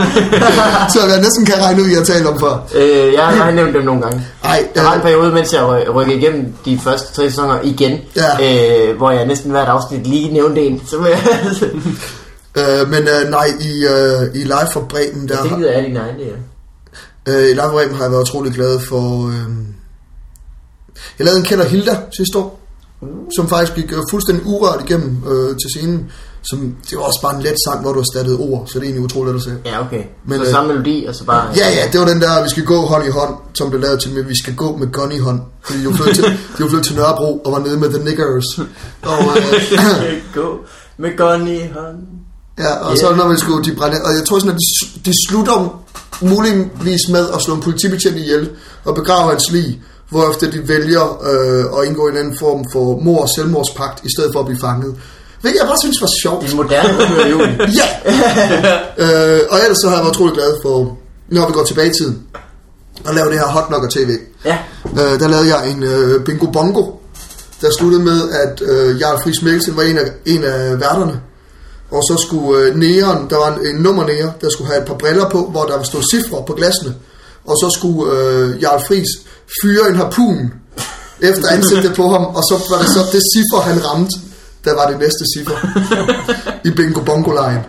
Speaker 1: så jeg næsten kan regne ud, jeg har talt om før.
Speaker 4: Øh, jeg har- jeg har nævnt dem nogle gange.
Speaker 1: Ej,
Speaker 4: Der var en
Speaker 1: øh,
Speaker 4: periode, mens jeg ry- rykkede igennem de første tre sæsoner igen,
Speaker 1: Ja.
Speaker 4: øh, hvor jeg næsten hvert afsnit lige nævnte en. Så må jeg,
Speaker 1: øh, men øh, nej, i, øh, i Live fra Bremen, der,
Speaker 4: det gider jeg din egen, det er.
Speaker 1: øh, i Live fra Bremen har jeg været utrolig glad for... Øh, jeg lavede en kender Hilda sidste år, som faktisk gik øh, fuldstændig urørt igennem øh, til scenen. Som, det var også bare en let sang, hvor du erstattede ord, så det er egentlig utroligt at se.
Speaker 4: Ja, okay.
Speaker 1: Men,
Speaker 4: Men, så
Speaker 1: øh,
Speaker 4: samme melodi, og så bare...
Speaker 1: Ja, ja, det var den der, vi skal gå hånd i hånd, som blev lavet til med, vi skal gå med gun i hånd. Fordi de var flyttet til, de var flyttet til Nørrebro og var nede med The Niggers. Og, øh,
Speaker 4: Gå med gun i hånd.
Speaker 1: ja, og så når man skulle, de brænde, og jeg tror sådan, at de, de slutter muligvis med at slå en politibetjent ihjel og begrave hans lig, hvorefter de vælger øh, at indgå i en anden form for mor- og selvmordspagt, i stedet for at blive fanget. Hvilket jeg bare synes var sjovt.
Speaker 4: En moderne Romeo og Julie.
Speaker 1: Ja! øh, og ellers så har jeg været utrolig glad for, når vi går tilbage i tiden, at lave det her Hot Knocker TV.
Speaker 4: Ja,
Speaker 1: Øh, der lavede jeg en øh, bingo bongo, der sluttede med, at øh, Jarl Friis Mikkelsen var en af, en af værterne. Og så skulle øh, næren, der var en, en nummernæger, der skulle have et par briller på, hvor der stod cifre på glasene. Og så skulle øh, Jarl Friis fyre en harpun efter ansigtet på ham, og så var det så det cifre, han ramte, der var det næste cifre i bingo bongo lejen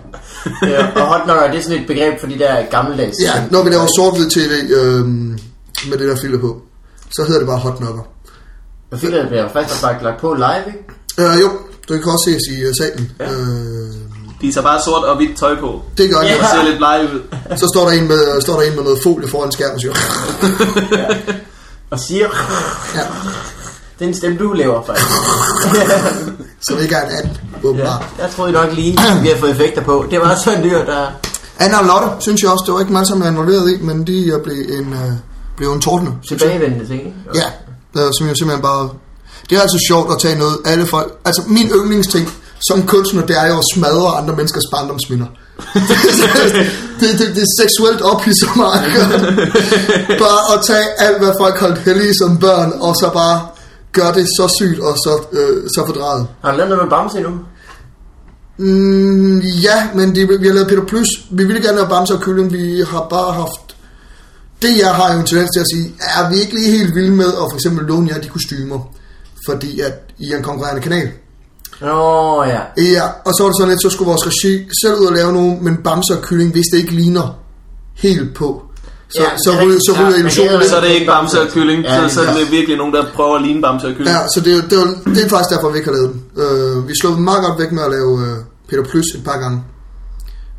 Speaker 4: øh, og hot knocker, det er sådan et begreb for de der gammeldags...
Speaker 1: Ja, når vi laver sort-hvid tv øh, med det der filter på, så hedder det bare hot knocker.
Speaker 4: Jeg fik det, bliver faktisk bare lagt på live, ikke?
Speaker 1: Øh, jo, det kan også ses i uh, salen. Ja. Øh,
Speaker 2: De tager bare sort og hvidt tøj på.
Speaker 1: det gør
Speaker 2: Og
Speaker 1: jeg.
Speaker 2: ser lidt blege ud.
Speaker 1: Så står der en med, øh, står der en med noget folie foran skærmen, siger,
Speaker 4: Og siger...
Speaker 1: ja,
Speaker 4: Det er en stemme, du laver, faktisk.
Speaker 1: som ikke er en and, åbenbart.
Speaker 4: Jeg troede nok lige, at vi har fået effekter på. Det var sådan en dyr, der...
Speaker 1: Anna og Lotte, synes jeg også, det var ikke mig, som er involveret i, men de øh, blev en, øh, blev en tordner.
Speaker 4: Tilbagevendende ting, ikke?
Speaker 1: Ja, øh, som jo simpelthen bare... Det er altså sjovt at tage noget, alle folk... Altså, min yndlingsting som kunstner, det er jo at smadre andre menneskers barndomsminder. det, det, det, er seksuelt ophidser mig. bare at tage alt, hvad folk holdt heldige som børn, og så bare gøre det så sygt og så, øh, så fordrejet.
Speaker 4: Har du lavet noget med Bamse endnu?
Speaker 1: Mm, ja, men det, vi har lavet Peter Plus. Vi ville gerne have Bamse og Kylling. Vi har bare haft... det jeg har jo en tendens til at sige, er vi ikke lige helt vilde med at for eksempel låne jer de kostymer, fordi at I er en konkurrerende kanal.
Speaker 4: Nå ja.
Speaker 1: Ja, og så var det sådan lidt, så skulle vores regi selv ud og lave nogle, men Bamse og Kylling, hvis det ikke ligner helt på, så,
Speaker 4: Ja,
Speaker 1: ja,
Speaker 4: det er
Speaker 1: så, ryger,
Speaker 4: rigtigt.
Speaker 1: så
Speaker 4: Ja,
Speaker 1: ryger
Speaker 4: men
Speaker 1: illusionen
Speaker 4: det
Speaker 1: lidt.
Speaker 2: Så er det ikke bamse og kylling,
Speaker 4: Ja,
Speaker 2: ja, så, så er
Speaker 1: ja.
Speaker 2: det virkelig nogen, der prøver at ligne bamse og kylling.
Speaker 1: Ja, så det, er jo- det, er jo- det er faktisk derfor, vi ikke har lavet den. Øh, vi slog meget godt væk med at lave øh, Peter Plus et par gange.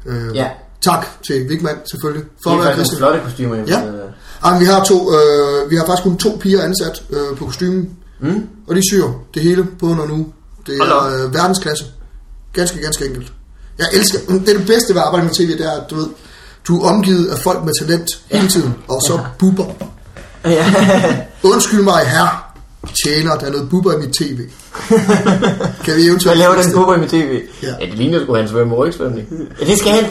Speaker 1: Øh,
Speaker 4: Ja.
Speaker 1: Tak til Vigman selvfølgelig, for
Speaker 4: Det
Speaker 1: at
Speaker 4: er
Speaker 1: være
Speaker 4: faktisk nogle
Speaker 1: kristen.
Speaker 4: flotte kostymer.
Speaker 1: Ja. Jamen, Ah, vi har, to, øh, vi har faktisk kun to piger ansat øh, på kostymen,
Speaker 4: Mm.
Speaker 1: og de syr det hele på under nu. Det
Speaker 2: Hold
Speaker 1: er øh, verdensklasse. Ganske, ganske enkelt. Jeg elsker, det er det bedste ved at arbejde med tv, det er, at du ved, du er omgivet af folk med talent hele tiden, og så buber.
Speaker 4: ja.
Speaker 1: Undskyld mig, herre tjener, der er noget buber i mit tv. kan vi eventuelt...
Speaker 4: Hvad laver den bubber i mit tv?
Speaker 1: Ja.
Speaker 4: Ja, det ligner sgu hans svømme og rygsvømning. Ja, det skal han.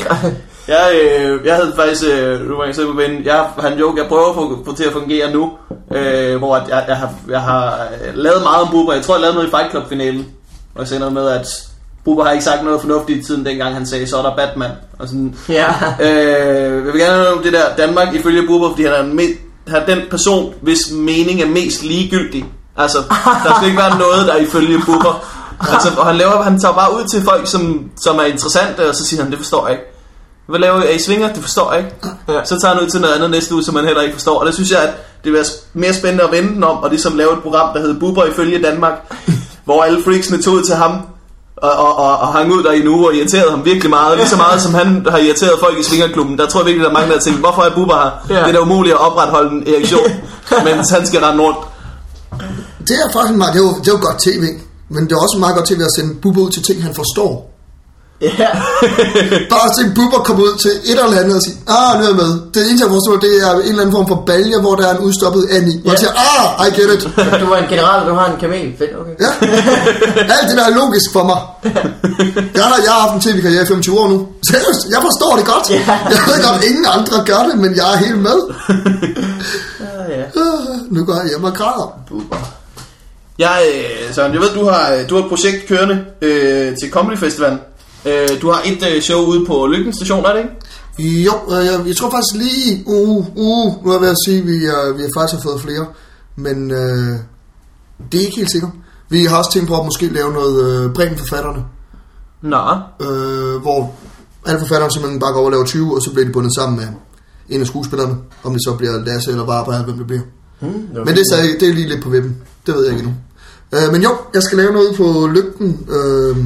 Speaker 2: Jeg, øh, jeg havde faktisk, øh, nu var jeg selv på banen, jeg har en joke, jeg prøver at få, få til at fungere nu, øh, hvor at jeg, jeg, har, jeg har øh, lavet meget om Bubber. Jeg tror, jeg lavede noget i Fight Club-finalen, hvor jeg sagde noget med, at Bubber har ikke sagt noget fornuftigt siden dengang, han sagde, så er der Batman. Og sådan,
Speaker 4: ja.
Speaker 2: Øh, jeg vil gerne høre om det der Danmark ifølge Bubber, fordi han er, den me- han er den person, hvis mening er mest ligegyldig. Altså, der skal ikke være noget, der er ifølge Bubber. Altså, og han, laver, han tager bare ud til folk, som, som er interessante, og så siger han, det forstår jeg ikke. Hvad laver I? Er I svinger? Det forstår jeg ikke.
Speaker 4: Ja.
Speaker 2: Så tager han ud til noget andet næste uge, som han heller ikke forstår. Og der synes jeg, at det vil være mere spændende at vende den om, og ligesom lave et program, der hedder Bubber ifølge Danmark, hvor alle freaksene tog ud til ham, og, og, og, og hang ud der i en uge og irriterede ham virkelig meget. Lige så meget som han har irriteret folk i svingerklubben. Der tror jeg virkelig, der er mange, der har tænkt, hvorfor er Bubber her?
Speaker 4: Ja.
Speaker 2: Det er da umuligt at opretholde en erektion, mens han skal rende rundt.
Speaker 1: Det er faktisk meget, det er, jo, det er jo godt tv, men det er også meget godt tv at sende Bubber ud til ting, han forstår.
Speaker 4: ja.
Speaker 1: Bare at se Bubber komme ud til et eller andet og sige, ah, nu er jeg med. Det eneste, jeg forstår, det er en eller anden form for balje, hvor der er en udstoppet and i. Og yeah. siger, ah, I get it.
Speaker 4: Du var en general, og du har en kamel. Fedt, okay.
Speaker 1: Ja. Alt det der er logisk for mig. Jeg har, jeg har haft en tv-karriere i 25 år nu. Seriøst, jeg forstår det godt. Jeg ved godt, ingen andre gør det, men jeg er helt med.
Speaker 4: ja.
Speaker 1: Ah, Nu går jeg hjem og græder.
Speaker 2: Jeg, øh, Søren, jeg ved, du har, øh, du har et projekt kørende øh, til Comedy Festivalen. Øh, du har et øh, show ude på Lykken Station, er det ikke?
Speaker 1: Jo, øh, jeg, jeg tror faktisk lige, uh, uh, nu er jeg ved at sige, at vi, øh, vi har faktisk har fået flere, men øh, det er ikke helt sikkert. Vi har også tænkt på at måske lave noget øh, Bremen forfatterne,
Speaker 2: Nå.
Speaker 1: øh, hvor alle forfatterne simpelthen bare går over og laver 20, og så bliver de bundet sammen med en af skuespillerne, om det så bliver Lasse eller Barbara, eller hvem det bliver.
Speaker 4: Men
Speaker 1: Men det er, stadig, det er lige lidt på vippen, det ved jeg ikke endnu. Øh, men jo, jeg skal lave noget på lygten, øh,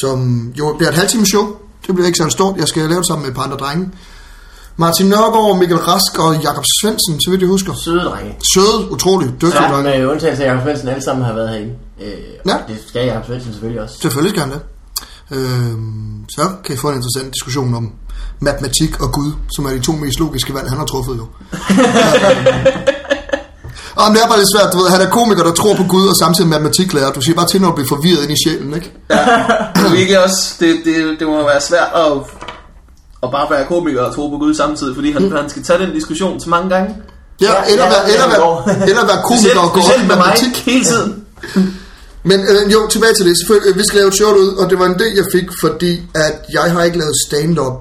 Speaker 1: som jo bliver et halvtimes show. Det bliver ikke så stort. Jeg skal lave det sammen med et par andre drenge. Martin Nørgaard, Mikkel Rask og Jakob Svendsen, så vidt jeg husker.
Speaker 4: Søde drenge.
Speaker 1: Søde, utroligt, dygtige ja,
Speaker 4: Ja,
Speaker 1: drenge.
Speaker 4: med undtagelse af Jacob Svendsen, alle sammen har været herinde. Øh,
Speaker 1: Ja.
Speaker 4: ja. Det skal Jacob Svendsen selvfølgelig også.
Speaker 1: Selvfølgelig skal han det. Øh, så kan I få en interessant diskussion om matematik og Gud, som er de to mest logiske valg, han har truffet jo. Og det er bare lidt svært, du ved, han er komiker, der tror på Gud og samtidig matematiklærer. Du siger bare til, når du bliver forvirret ind i sjælen, ikke?
Speaker 2: Det, ikke også, det, det, det må være svært at, at bare være komiker og tro på Gud samtidig, fordi han, mm. han skal tage den diskussion så mange gange.
Speaker 1: Ja,
Speaker 4: Ja,
Speaker 1: eller,
Speaker 4: ja,
Speaker 1: være,
Speaker 4: ja,
Speaker 1: eller,
Speaker 4: ja,
Speaker 1: være,
Speaker 4: hvor-
Speaker 1: eller være
Speaker 2: Specielt,
Speaker 1: komiker og gå op
Speaker 2: specielt
Speaker 1: i
Speaker 2: med mig
Speaker 1: matematik.
Speaker 2: hele tiden.
Speaker 1: Men øh, jo, tilbage til det. Selvfølgelig, øh, vi skal lave et short ud, og det var en del, jeg fik, fordi at jeg har ikke lavet stand-up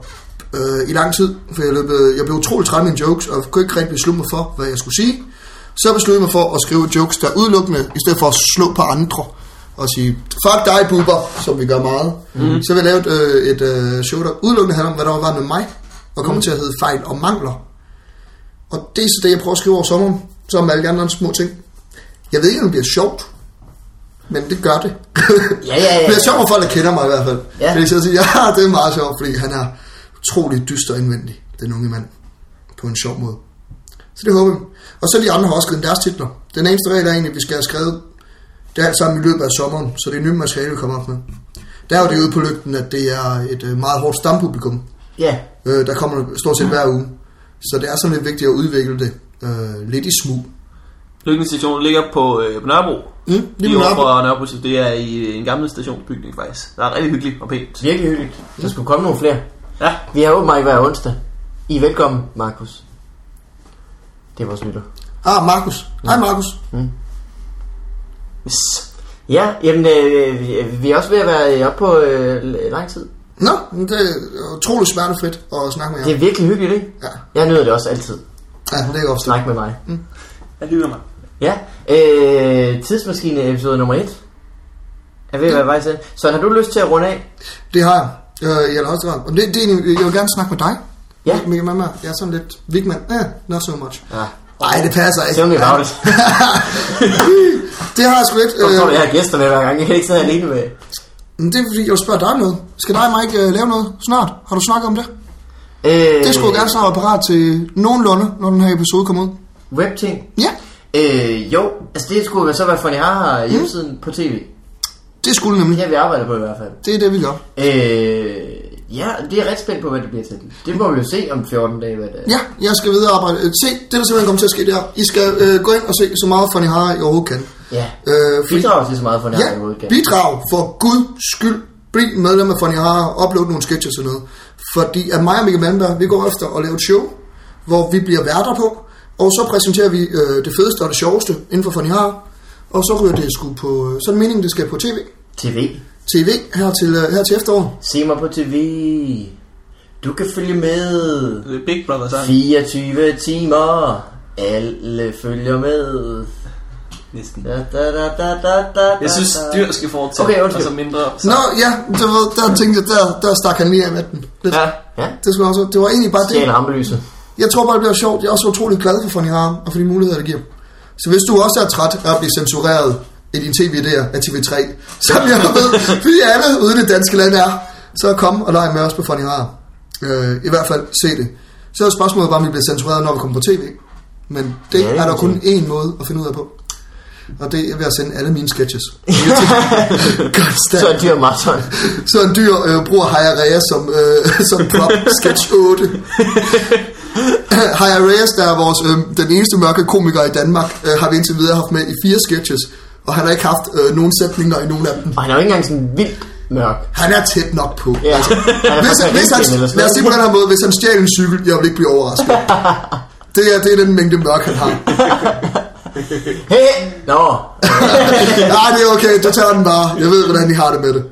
Speaker 1: øh, i lang tid, for jeg, løb, øh, jeg blev utrolig træt af mine jokes, og kunne ikke rigtig beslutte mig for, hvad jeg skulle sige. Så besluttede jeg mig for at skrive jokes, der er udelukkende, i stedet for at slå på andre og sige, fuck dig, buber, som vi gør meget.
Speaker 4: Mhm.
Speaker 1: Mm. Så vil jeg lave øh, et øh, show, der udelukkende handler om, hvad der var med mig, og
Speaker 4: Mhm.
Speaker 1: kommer mm. til at hedde fejl og mangler. Og det er så det, jeg prøver at skrive over sommeren, som med alle de andre små ting. Jeg ved ikke, om det bliver sjovt, men det gør det.
Speaker 4: Ja, ja, ja.
Speaker 1: det er sjovt, at folk der kender mig i hvert fald.
Speaker 4: Ja.
Speaker 1: Ja. Fordi så siger, ja, det er meget sjovt, fordi han er utrolig dyster indvendig, den unge mand, på en sjov måde. Så det håber vi. Og så de andre har også skrevet deres titler. Den eneste regel er egentlig, at vi skal have skrevet det er alt sammen i løbet af sommeren, så det er nyt materiale, vi kommer op med. Der er jo det ude på lygten, at det er et øh, meget hårdt stampublikum,
Speaker 4: Ja.
Speaker 1: Øh, der kommer stort set hver uge. Så det er sådan lidt vigtigt at udvikle det øh, lidt i smug.
Speaker 2: Lykken station ligger på, øh, på Nørrebro.
Speaker 1: Mm,
Speaker 2: Lige
Speaker 1: lige med
Speaker 2: over
Speaker 1: op.
Speaker 2: for Nørrebro, det er i øh, en gammel stationsbygning faktisk. Der er rigtig hyggeligt og pænt.
Speaker 4: Virkelig hyggeligt. Der skulle komme nogle flere.
Speaker 2: Ja,
Speaker 4: Vi har åbent mig hver onsdag. I er velkommen, Markus. Det er vores lytter.
Speaker 1: Ah, Markus. Hej, Markus.
Speaker 2: yes.
Speaker 4: Ja, jamen, øh, vi- vi er også ved at være øh, oppe på øh, lang tid.
Speaker 1: Nå, men det er utroligt smertefrit at snakke med jer.
Speaker 3: Det er virkelig hyggeligt, ikke?
Speaker 1: Ja,
Speaker 3: Jeg nyder det også altid.
Speaker 1: ja det kan jeg godt forstå.
Speaker 3: Snak med mig.
Speaker 5: Jeg lyder mig.
Speaker 3: Ja, øh, tidsmaskine episode nummer 1. Jeg ved, hvad vej til. Så har du lyst til at runde af?
Speaker 1: Det har jeg. Øh, jeg har også drømt. Men det, det, er egentlig- jeg vil gerne snakke med dig.
Speaker 3: Ja.
Speaker 1: Mega mamma, jeg er sådan lidt vigmand. Ja, not so much.
Speaker 3: Ja.
Speaker 1: Nej, det passer ikke.
Speaker 3: Tell me about it.
Speaker 1: det har jeg sgu lidt.
Speaker 3: Hvorfor tror du, jeg har gæster med hver gang? Jeg kan ikke sidde alene med.
Speaker 1: øh, men det er fordi, jeg vil spørge dig om noget. Skal dig og mig ikke øh, lave noget snart? Har du snakket om det?
Speaker 3: Øh,
Speaker 1: Det skulle jeg gerne snart være parat til nogenlunde, når den her episode kommer ud.
Speaker 3: Webting.
Speaker 1: Ja,
Speaker 3: Øh, jo, altså det skulle jo så være Funny Haha
Speaker 1: Hmm?
Speaker 3: hjemmesiden på tv.
Speaker 1: det skulle nemlig.
Speaker 3: Det har vi arbejdet på i hvert fald.
Speaker 1: Det er det, vi gør.
Speaker 3: Øh, ja, det er jeg ret spændt på, hvad det bliver til. Det må vi jo se om 14 dage, hvad det er.
Speaker 1: Ja, jeg skal videre arbejde. Øh, Se, det der simpelthen kommer til at ske der. I skal øh, gå ind og se så meget Funny Hara I overhovedet kan.
Speaker 3: ja.
Speaker 1: Øh, fordi-
Speaker 3: Bidrager til så meget Funny Haha i
Speaker 1: Ja,
Speaker 3: hovedet.
Speaker 1: bidrag for guds skyld. Bliv medlem af Funny Hara og upload nogle sketches og noget. Fordi at mig og Mikkel Mandberg, vi går efter at lave et show, hvor vi bliver værter på, og så præsenterer vi øh, det fedeste og det sjoveste inden for Funny Hara, og så ryger det sgu på, øh, så er det meningen, det skal på tv.
Speaker 3: TV.
Speaker 1: TV her til, øh, her til efteråret.
Speaker 3: Se mig på tv. Du kan følge med.
Speaker 2: Det er Øh, Big Brother sang.
Speaker 3: 24 timer. Alle følger med.
Speaker 2: Næsten.
Speaker 3: Da, da, da, da, da, da,
Speaker 2: Jeg synes,
Speaker 3: da.
Speaker 2: dyr skal fortsætte.
Speaker 3: Okay, undskyld.
Speaker 2: Altså mindre.
Speaker 1: Nå ja, der, var, der tænkte jeg, der, der stak han lige af med den. Lidt.
Speaker 2: Ja.
Speaker 3: Ja,
Speaker 1: Det, skulle også, det var egentlig bare det.
Speaker 3: det er en rampelyse.
Speaker 1: Jeg tror bare, det bliver sjovt. Jeg er også utrolig glad for Fanny Harm og for de muligheder, det giver. Så hvis du også er træt af at blive censureret i din tv-idéer af TV3, som jeg ved, vi alle ude i det danske land er, så kom og leg med os på Fanny Harm. Øh, I hvert fald se det. Så er spørgsmålet bare, om vi bliver censureret, når vi kommer på tv. Men det
Speaker 3: Ja, det
Speaker 1: ja, er der
Speaker 3: kan
Speaker 1: kun én måde at finde ud af på. Og det er ved at sende alle mine sketches. Konstant.
Speaker 3: Så er dyr maraton.
Speaker 1: Så en dyr øh, bruger Haya Reyes som, øh, som prop sketch 8. Haya Reyes, der er vores, øh, den eneste mørke komiker i Danmark, øh, har vi indtil videre haft med i fire sketches. Og han har ikke haft øh, nogen sætninger i nogen af dem.
Speaker 3: Og han er jo ikke engang sådan vildt mørk.
Speaker 1: Han er tæt nok på.
Speaker 3: Ja, altså, han er
Speaker 1: Hvis,
Speaker 3: faktisk
Speaker 1: hvis han,
Speaker 3: Indien eller sådan
Speaker 1: lad os sige på
Speaker 3: noget.
Speaker 1: den her måde, hvis han stjal en cykel, jeg vil ikke blive overrasket. Det er, det er den mængde mørk, han har.
Speaker 3: Hey, hey. Nå,
Speaker 1: Nej, det er okay, du tager den bare. Jeg ved, hvordan I har det med det.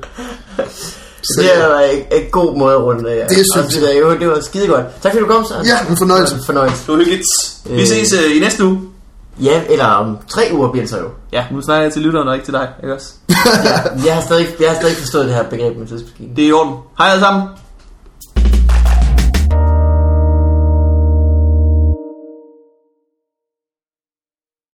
Speaker 1: Så,
Speaker 3: det er da en, en god måde at runde af.
Speaker 1: Det synes
Speaker 3: jeg. Jo, det var skide godt. Tak fordi du kom, Søren.
Speaker 1: ja, en fornøjelse.
Speaker 3: Det var en fornøjelse.
Speaker 2: Det var hyggeligt. Vi
Speaker 3: Øh.
Speaker 2: ses øh, i næste uge.
Speaker 3: Ja, eller om tre uger bliver det så jo.
Speaker 2: Ja, nu snakker jeg til lytteren og ikke til dig, ikke også?
Speaker 3: Jeg har stadig, jeg har stadig ikke forstået det her begreb med tidsmaskinen.
Speaker 2: Det er i orden. Hej alle sammen.